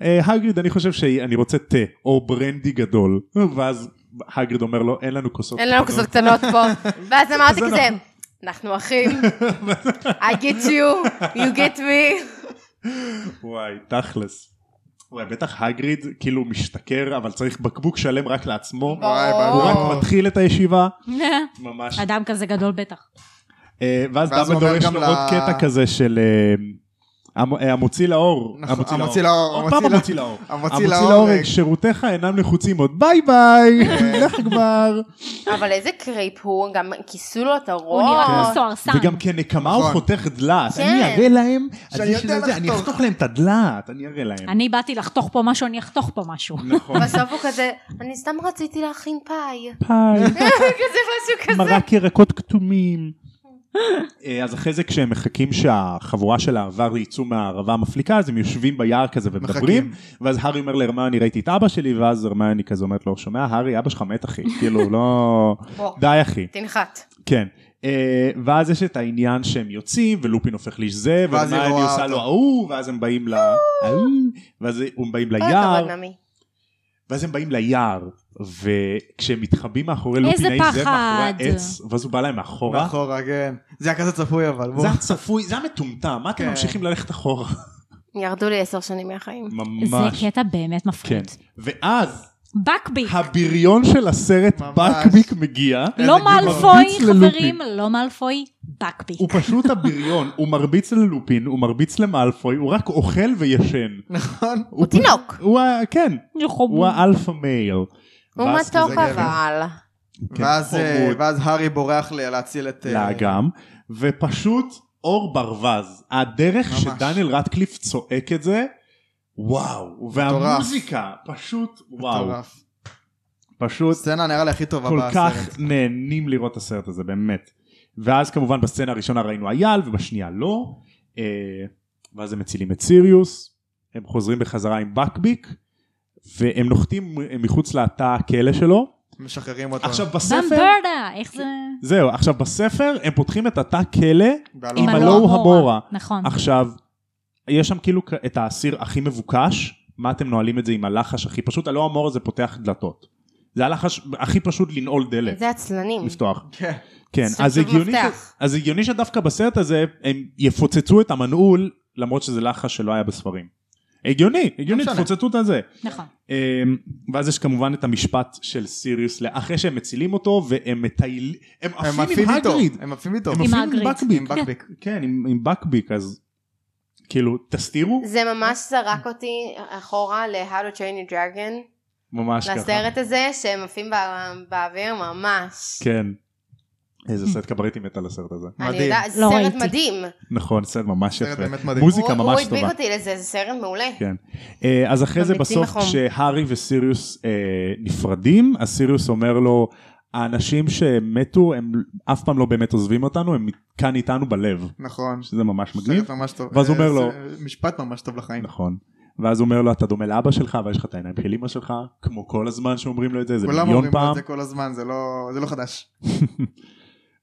C: אה, הגריד, אני חושב שאני רוצה תה, או ברנדי גדול, ואז הגריד אומר לו, אין לנו כוסות.
A: אין לנו
C: קטנות."
A: כזאת קטנות פה. ואז אמרתי
C: זה
A: כזה, אנחנו אחים. I get you, you get me.
C: וואי, תכלס. וואי, בטח הגריד כאילו משתכר, אבל צריך בקבוק שלם רק לעצמו.
B: וואי,
C: הוא
A: ברור.
C: רק מתחיל את הישיבה,
D: זה.
C: ממש.
D: אדם כזה גדול בטח.
C: אה, ואז
B: ואז הוא
C: דמבלדור
B: אומר
C: יש
B: גם
C: לו
B: ל-
C: עוד קטע כזה של אה, המ- אה, המוציא לאור.
B: נכון, המוציא לאור,
C: עוד פעם המוציא לאור.
B: המוציא
C: המוציא
B: לאור,
C: לאור,
B: אה, כן.
C: שירותיך אינם נחוצים עוד ביי ביי, לך כבר.
A: אבל איזה קריפ הוא, גם כיסו לו את
D: הוא
A: הראש.
D: נראה כמו סוהרסן.
C: וגם כנקמה הוא
B: נכון.
C: חותך דלעת. אני
A: כן.
C: אראה להם,
B: שאני
C: אני יש
B: יודע
C: לי את זה, אני
B: לחתוך.
C: אחתוך להם את הדלעת, אני אראה להם.
D: אני באתי לחתוך פה משהו, אני אחתוך פה משהו.
C: נכון.
A: בסוף הוא כזה, אני סתם רציתי להכין פאי.
C: ביי.
A: כזה משהו כזה.
C: מרק ירקות כתומים. אה, אז אחרי זה כשהם מחכים שהחבורה של העבר יצאו מהערבה המפליקה אז הם יושבים ביער כזה ומדברים
B: מחכים.
C: ואז הארי אומר להרמני ראיתי את אבא שלי ואז הרמני כזה אומרת לו שומע הארי אבא שלך מת אחי כאילו לא
A: בוא,
C: די אחי
A: תנחת.
C: כן אה, ואז יש את העניין שהם יוצאים ולופין הופך לאיש זה
B: ואז היא
C: והרמני
B: רואה
C: עושה
B: אותו.
C: לו ההוא ואז הם באים ל... ההוא, ואז הם באים
B: אה,
A: כל הכבוד,
C: ליער
A: נעמי.
C: ואז הם באים ליער וכשהם מתחבאים מאחורי
D: איזה
C: לופין האיש זה
D: פחד.
C: מאחורי העץ ואז הוא בא להם מאחורה
B: מאחורה, כן. זה היה כזה צפוי אבל, בוא.
C: אה? זה הצפוי, זה המטומטם, מה אתם
B: כן.
C: ממשיכים ללכת אחורה?
A: ירדו לי עשר שנים מהחיים.
C: ממש.
D: זה קטע באמת
C: כן.
D: מפחיד.
C: ואז
D: בקביק.
C: הבריון של הסרט
B: ממש.
C: בקביק מגיע,
B: איזה
D: לא
B: גיל
D: מאלפוי,
C: כאילו מרביץ
D: חברים,
C: ללופין.
D: לא מאלפוי, בקביק.
C: הוא פשוט הבריון, הוא מרביץ ללופין, הוא מרביץ למאלפוי, הוא רק אוכל וישן.
B: נכון.
A: הוא תינוק.
C: הוא ה... כן, הוא האלפא מייל.
A: הוא
C: ואז
A: מתוק
B: כזה גבר.
A: אבל.
C: כן,
B: ואז, אה,
C: חמוד.
B: ואז הארי בורח ל- להציל את... אה,
C: לאגם, ופשוט אור ברווז. הדרך
B: ממש.
C: שדניאל רטקליף צועק את זה, וואו. והמוזיקה, פשוט וואו.
B: מטורף.
C: פשוט
B: סצנה נראה לי הכי טובה
C: כל
B: בסרט.
C: כך נהנים לראות את הסרט הזה באמת. ואז כמובן בסצנה הראשונה ראינו אייל ובשנייה לא. אה, ואז הם מצילים את סיריוס, הם חוזרים בחזרה עם בקביק, והם נוחתים מחוץ לתא הכלא שלו.
B: משחררים אותו.
C: עכשיו בספר,
D: במברדה, איך זה...
C: זהו, עכשיו בספר הם פותחים את התא כלא,
B: בעלון.
C: עם
D: עם
C: הלא
D: הלא
C: הוא המורה.
D: המורה. נכון.
C: עכשיו יש שם כאילו את האסיר הכי מבוקש, מה אתם נועלים את זה עם הלחש הכי פשוט, הלא המורה זה פותח דלתות. זה הלחש הכי פשוט לנעול דלת,
A: זה עצלנים.
C: לפתוח.
B: כן.
C: כן,
A: סוג
C: אז
A: של
C: הגיוני, ש...
A: מפתח.
C: אז הגיוני שדווקא בסרט הזה הם יפוצצו את המנעול למרות שזה לחש שלא היה בספרים. הגיוני, הגיוני,
B: לא משנה.
C: תפוצצו את הזה.
D: נכון.
C: אמ, ואז יש כמובן את המשפט של סיריוס, אחרי שהם מצילים אותו והם מטיילים, הם
B: הם
C: עפים
B: עפים
C: עם
B: איתו.
C: הגריד.
B: הם עפים איתו.
C: הם עפים עם
D: הגריד.
C: בקביק.
B: עם בקביק.
C: כן, עם עם בקביק, אז כאילו, תסתירו,
A: זה ממש זרק אותי אחורה ל-How to Train Your Dragon,
C: ממש ככה.
A: לסרט הזה שהם עפים בא- באוויר ממש.
C: כן.
E: איזה סרט קברטי מת על הסרט הזה.
A: אני
B: מדהים.
A: יודעת,
D: לא
A: סרט
D: ראיתי.
A: מדהים.
C: נכון, סרט ממש
B: סרט
C: יפה.
B: באמת מדהים.
C: מוזיקה
A: הוא-
C: ממש
A: הוא
C: טובה.
A: הדביק אותי לזה, זה סרט מעולה.
C: כן. אה, אז אחרי זה
A: ממליצים
C: בסוף
A: בחום.
C: כשהארי וסיריוס אה, נפרדים, אז סיריוס אומר לו, האנשים שמתו הם אף פעם לא באמת עוזבים אותנו, הם כאן איתנו בלב,
B: נכון.
C: שזה ממש מגניב.
B: סרט ממש טוב.
C: ואז הוא אומר
B: אה,
C: לו-
B: זה משפט ממש טוב לחיים.
C: נכון. ואז הוא אומר לו אתה דומה לאבא שלך אבל יש לך את העיניים של אמא שלך כמו כל הזמן שאומרים לו את זה זה
B: כולם
C: מיליון
B: אומרים לו את
C: פעם
B: זה כל הזמן, זה לא- זה לא חדש.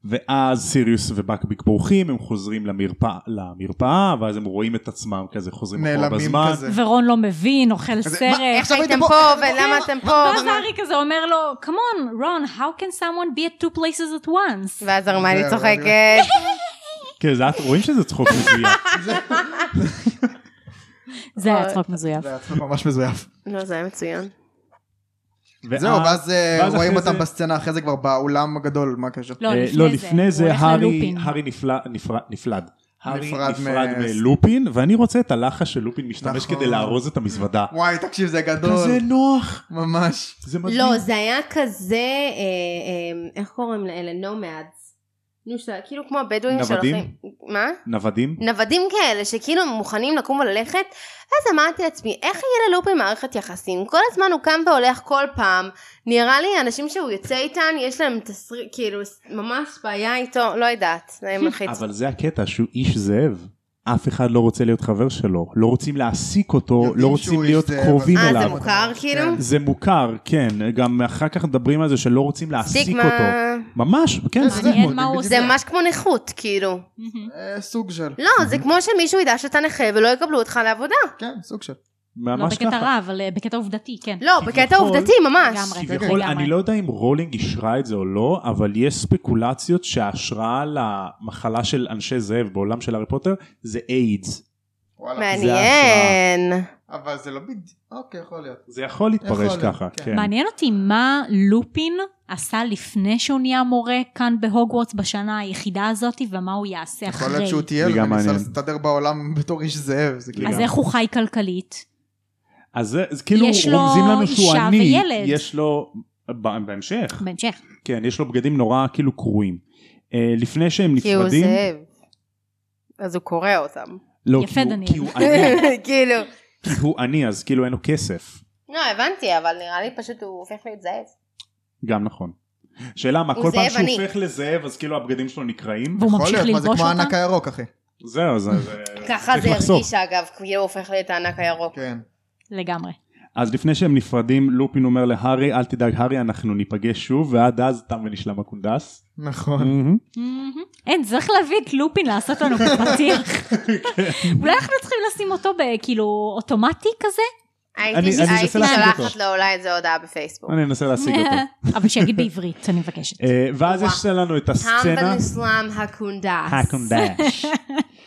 C: ואז סיריוס ובקביק בורחים הם חוזרים למרפא, למרפאה ואז הם רואים את עצמם כזה חוזרים אחורה
B: נעלמים
C: בזמן
B: כזה.
D: ורון לא מבין, אוכל
B: כזה,
D: סרט.
B: "מה,
A: איך
B: עכשיו
A: הייתם
B: הייתם
A: פה
B: פה,
A: ולמה אתם פה?
D: ואז הארי כזה אומר לו, come on, Ron, how can someone be at two places at once?
A: ואז הרמני
B: זהו,
A: צוחקת.
C: כן, זה- רואים שזה צחוק מזויף
D: זה היה צחוק מזויף.
B: זה עצמו ממש מזויף.
A: לא, זה היה מצוין.
C: ואז-
B: זהו, ואז אה,
C: ואז
B: רואים
C: אחרי
B: אותם
C: זה-
B: בסצנה, אחרי זה כבר באולם הגדול, מה הקשר?
D: לא,
C: אה,
D: לפני
C: לא,
D: זה.
C: לפני
D: הוא
C: זה
D: הולך
C: הארי
D: ללופין.
C: הארי נפלא- נפרד- נפלד. הארי
B: נפרד
C: נפרד
B: מ-
C: מלופין, ואני רוצה את הלחש שלופין משתמש
B: נכון.
C: כדי לארוז את המזוודה.
B: וואי, תקשיב, זה גדול.
D: לא-
C: כזה נוח.
B: ממש.
C: זה מדהים.
A: לא, זה היה כזה, אה, אה, איך קוראים לאלה? נומדס. נו, שאתה- כאילו כמו הבדואים
C: נוודים?
A: שהולכים... מה?
C: נוודים?
A: נוודים כאלה שכאילו מוכנים לקום וללכת אז אמרתי לעצמי איך יהיה ללופין מערכת יחסים כל הזמן הוא קם והולך כל פעם נראה לי האנשים שהוא יוצא איתן יש להם תסריט כאילו ס- ממש בעיה איתו לא יודעת זה היה מלחיץ
C: אבל זה הקטע שהוא איש זאב. אף אחד לא רוצה להיות חבר שלו. לא רוצים להעסיק אותו,
B: יודעים
C: לא
B: שהוא
C: רוצים
B: איש
C: להיות
B: זאב,
C: קרובים
B: אז-
A: אה, זה
C: אליו.
A: מוכר? כאילו?
B: כן.
C: זה מוכר, כן. גם אחר כך מדברים על זה שלא רוצים להעסיק
A: סטיגמה
C: אותו. ממש, כן,
D: מעניין
C: סטיגמות.
D: מה הוא
A: זה
D: עושה.
A: ממש כמו נכות כאילו
D: מהמם.
B: אה, סוג של.
A: לא זה כמו שמישהו ידע שאתה נכה ולא יקבלו אותך לעבודה
B: כן, סוג של.
D: לא
C: ממש
D: בקטע
C: ככה.
D: רע, אבל אה, בקטע עובדתי, כן.
A: לא בקטע
C: כביכול-
A: עובדתי ממש
D: לגמרי. זה
C: כביכול,
D: לגמרי.
C: אני לא יודע אם רולינג אישרה את זה או לא, אבל יש ספקולציות שההשראה למחלה של אנשי זאב בעולם של הארי פוטר זה איידס.
B: וואלה.
A: מעניין
B: אבל זה לא בדיוק. אוקיי, יכול להיות.
C: זה יכול להתפרש
B: יכול להיות,
C: ככה,
B: כן.
C: כן.
D: מעניין אותי מה לופין עשה לפני שהוא נהיה מורה כאן בהוגוורטס בשנה היחידה הזאת, ומה הוא יעשה
B: יכול
D: אחרי.
B: להיות שהוא
C: זה
B: טייל
C: גם
B: וניסה
C: מעניין.
B: להסתדר בעולם בתור איש זאב. זה כאילו...
D: אז איך הוא חי כלכלית?
C: אז זה זה כאילו
D: יש לו
C: רומזים לנו שהוא
D: אישה
C: עני,
D: וילד.
C: יש לו, ב- בהמשך,
D: בהמשך.
C: כן, יש לו בגדים נורא כאילו קרועים. אה, לפני שהם
A: כי הוא
C: נפרדים,
A: זאב אז הוא קורע אותם
C: לא,
D: יפה,
C: כי הוא-
D: דניאל.
C: כי הוא עני,
A: כאילו
C: כי הוא עני, אז כאילו אין לו כסף.
A: לא, הבנתי, אבל נראה לי פשוט הוא הופך להיות זאב.
C: גם נכון. שאלה מה,
A: הוא
C: כל פעם
A: זאב
C: שהוא
A: עני.
C: הופך לזאב, אז כאילו הבגדים שלו נקרעים?
D: והוא
B: יכול
D: ממשיך
B: להיות, מה זה
D: ללבוש
B: כמו
D: אותה?
B: הענק הירוק, אחי.
C: זהו, זה... זה-
A: ככה
C: צריך
A: זה
C: לחסוך.
A: הרגיש אגב, כאילו הוא הופך להיות הענק הירוק.
B: כן.
D: לגמרי.
C: אז לפני שהם נפרדים, לופין אומר להארי, אל תדאג הארי, אנחנו ניפגש שוב, ועד אז תם ונשלם הקונדס.
B: נכון.
D: מהמם. אין, צריך להביא את לופין לעשות לנו פה פתיח.
B: כן.
D: אולי אנחנו צריכים לשים אותו בכאילו אוטומטי כזה,
C: אני-
A: הייתי
C: אני אנסה
A: הייתי
C: להשיג
A: שולחת
C: אותו.
A: לו אולי איזה הודעה בפייסבוק.
C: אני אנסה להשיג אותו.
D: אבל שיגיד בעברית, אני מבקשת.
C: אה, ואז
A: וואו.
C: יש לנו את
A: טמבל
C: הסצנה.
A: אסלאם הקונדס.
C: הקונדס.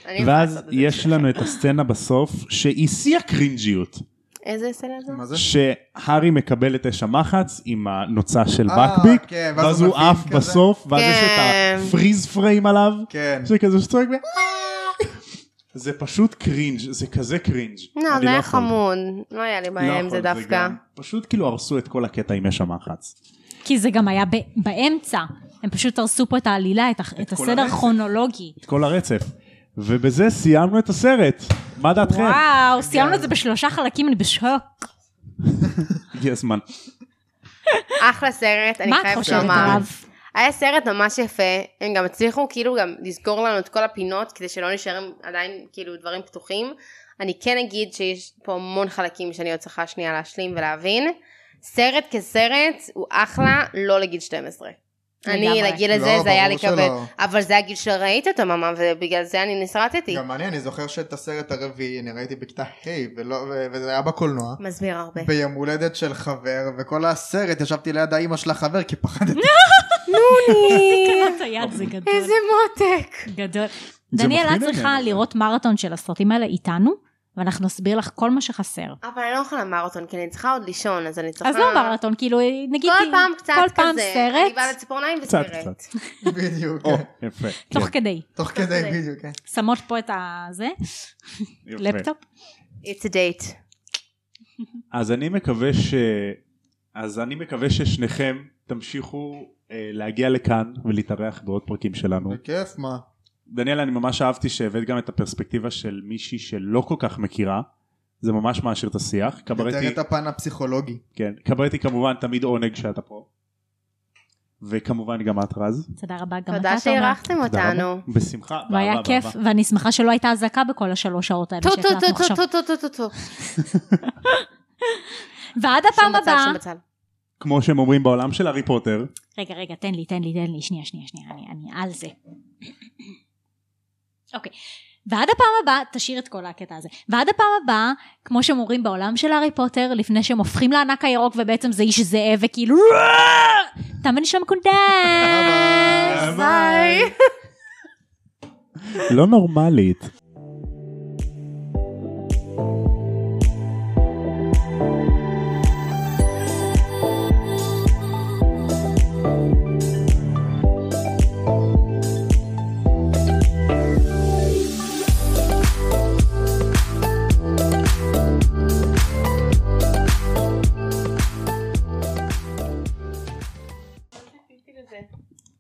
A: אני יכולה
C: ואז
A: לעשות את זה.
C: יש לנו את הסצנה בסוף, שהיא שיא הקרינג'יות.
A: איזה סצנה זו?
B: מה זה?
C: שהארי מקבל את אש המחץ עם הנוצה של
B: אה,
C: בקביק,
B: כן, ואז
C: ואז
B: הוא
C: הוא
B: מבין
C: עף
B: כזה.
C: בסוף, ואז יש את
A: כן.
C: הפריז פריים עליו,
B: כן.
C: שכזה שצועק, ו- "אה!" זה פשוט קרינג', זה כזה קרינג'.
A: לא,
C: אני
A: זה היה
C: יכול.
A: חמוד. לא היה לי
C: לא
A: בעיה עם
C: יכול,
A: זה דווקא.
C: גם- פשוט כאילו הרסו את כל הקטע עם אש המחץ.
D: כי זה גם היה ב- באמצע. הם פשוט הרסו פה את העלילה, את, ה- את הסדר
C: הרצף.
D: הכרונולוגי.
C: את כל הרצף. ובזה סיימנו את הסרט. מה דעתכם? כן.
D: וואו, סיימנו את זה בשלושה חלקים, אני בשוק.
C: הגיע הזמן.
A: אחלה סרט, אני
D: מה את
A: חייבת
D: חושבת
A: לומר.
D: עליו?
A: היה סרט ממש יפה, הם גם הצליחו כאילו גם לסגור לנו את כל הפינות כדי שלא נשארים עדיין כאילו דברים פתוחים. אני כן אגיד שיש פה המון חלקים שאני עוד צריכה שנייה להשלים ולהבין. סרט כסרט הוא אחלה לא לגיל 12. אני
D: לגמרי.
A: לגיל
B: לא,
A: הזה זה היה לי
B: ברור שלא.
A: כבד, אבל זה הגיל שראית אותו ממש ובגלל זה אני נסרטתי.
B: גם אני, אני זוכר שאת הסרט הרביעי אני ראיתי בכיתה ה' ולא- ו- וזה היה בקולנוע.
A: מסביר הרבה.
B: ביום הולדת של חבר, וכל הסרט ישבתי ליד האימא של החבר כי פחדתי.
D: קראת היד, זה גדול.
A: איזה מותק.
D: גדול.
C: זה
D: דניאל, את
C: מפחיד העניין
D: צריכה
C: הזה.
D: לראות מרתון של הסרטים האלה איתנו, ואנחנו נסביר לך כל מה שחסר.
A: אבל אני לא יכולה מרתון כי אני צריכה עוד לישון אז אני צריכה...
D: אז לא מרתון, כאילו, נגיד,
A: כל
D: כי-
A: פעם קצת
D: כל
A: כזה.
D: פעם
A: אני באה
D: סרט,
A: לציפורניים
C: קצת
A: וסרט.
C: קצת.
B: בדיוק.
C: או,
B: כן.
C: יפה.
D: תוך
C: כן,
D: כדי.
B: תוך כדי
A: כדי.
B: בדיוק, כן.
D: שמות פה את הזה,
C: יפה.
D: לפטופ.
A: It's a date.
C: אז אני מקווה ש... אז אני מקווה ששניכם תמשיכו אה, להגיע לכאן ולהתארח בעוד פרקים שלנו.
B: בכיף, מה?
C: דניאל, אני ממש אהבתי שהבאת גם את הפרספקטיבה של מישהי שלא כל כך מכירה. זה ממש מעשיר את השיח.
B: יותר
C: קברטי,
B: את הפן הפסיכולוגי.
C: כן, קברטי כמובן תמיד עונג שאתה פה. וכמובן גם את רז.
D: תודה רבה, גם אתה
A: תודה
D: תומר.
A: שאירחתם
C: תודה
A: אותנו.
C: רבה. בשמחה.
D: והיה
C: באהבה,
D: כיף,
C: באהבה.
D: ואני שמחה שלא הייתה אזעקה בכל השלוש שעות האלה
A: טו טו
D: שהקלטנו
A: טו
D: עכשיו.
A: טו טו טו טו טו טו.
D: ועד הפעם
A: שם בצל,
D: הבאה...
A: שם בצל.
C: כמו שהם אומרים בעולם של הארי פוטר.
D: רגע, רגע, תן לי, תן לי, תן לי, שנייה, שנייה, שנייה, אני, אני על זה. אוקיי. ועד הפעם הבאה, תשאיר את כל הקטע הזה. ועד הפעם הבאה, כמו שהם אומרים בעולם של הארי פוטר, לפני שהם הופכים לענק הירוק ובעצם זה איש זאב וכאילו... תם ונשלם קונדס!
A: ביי.
C: לא נורמלית.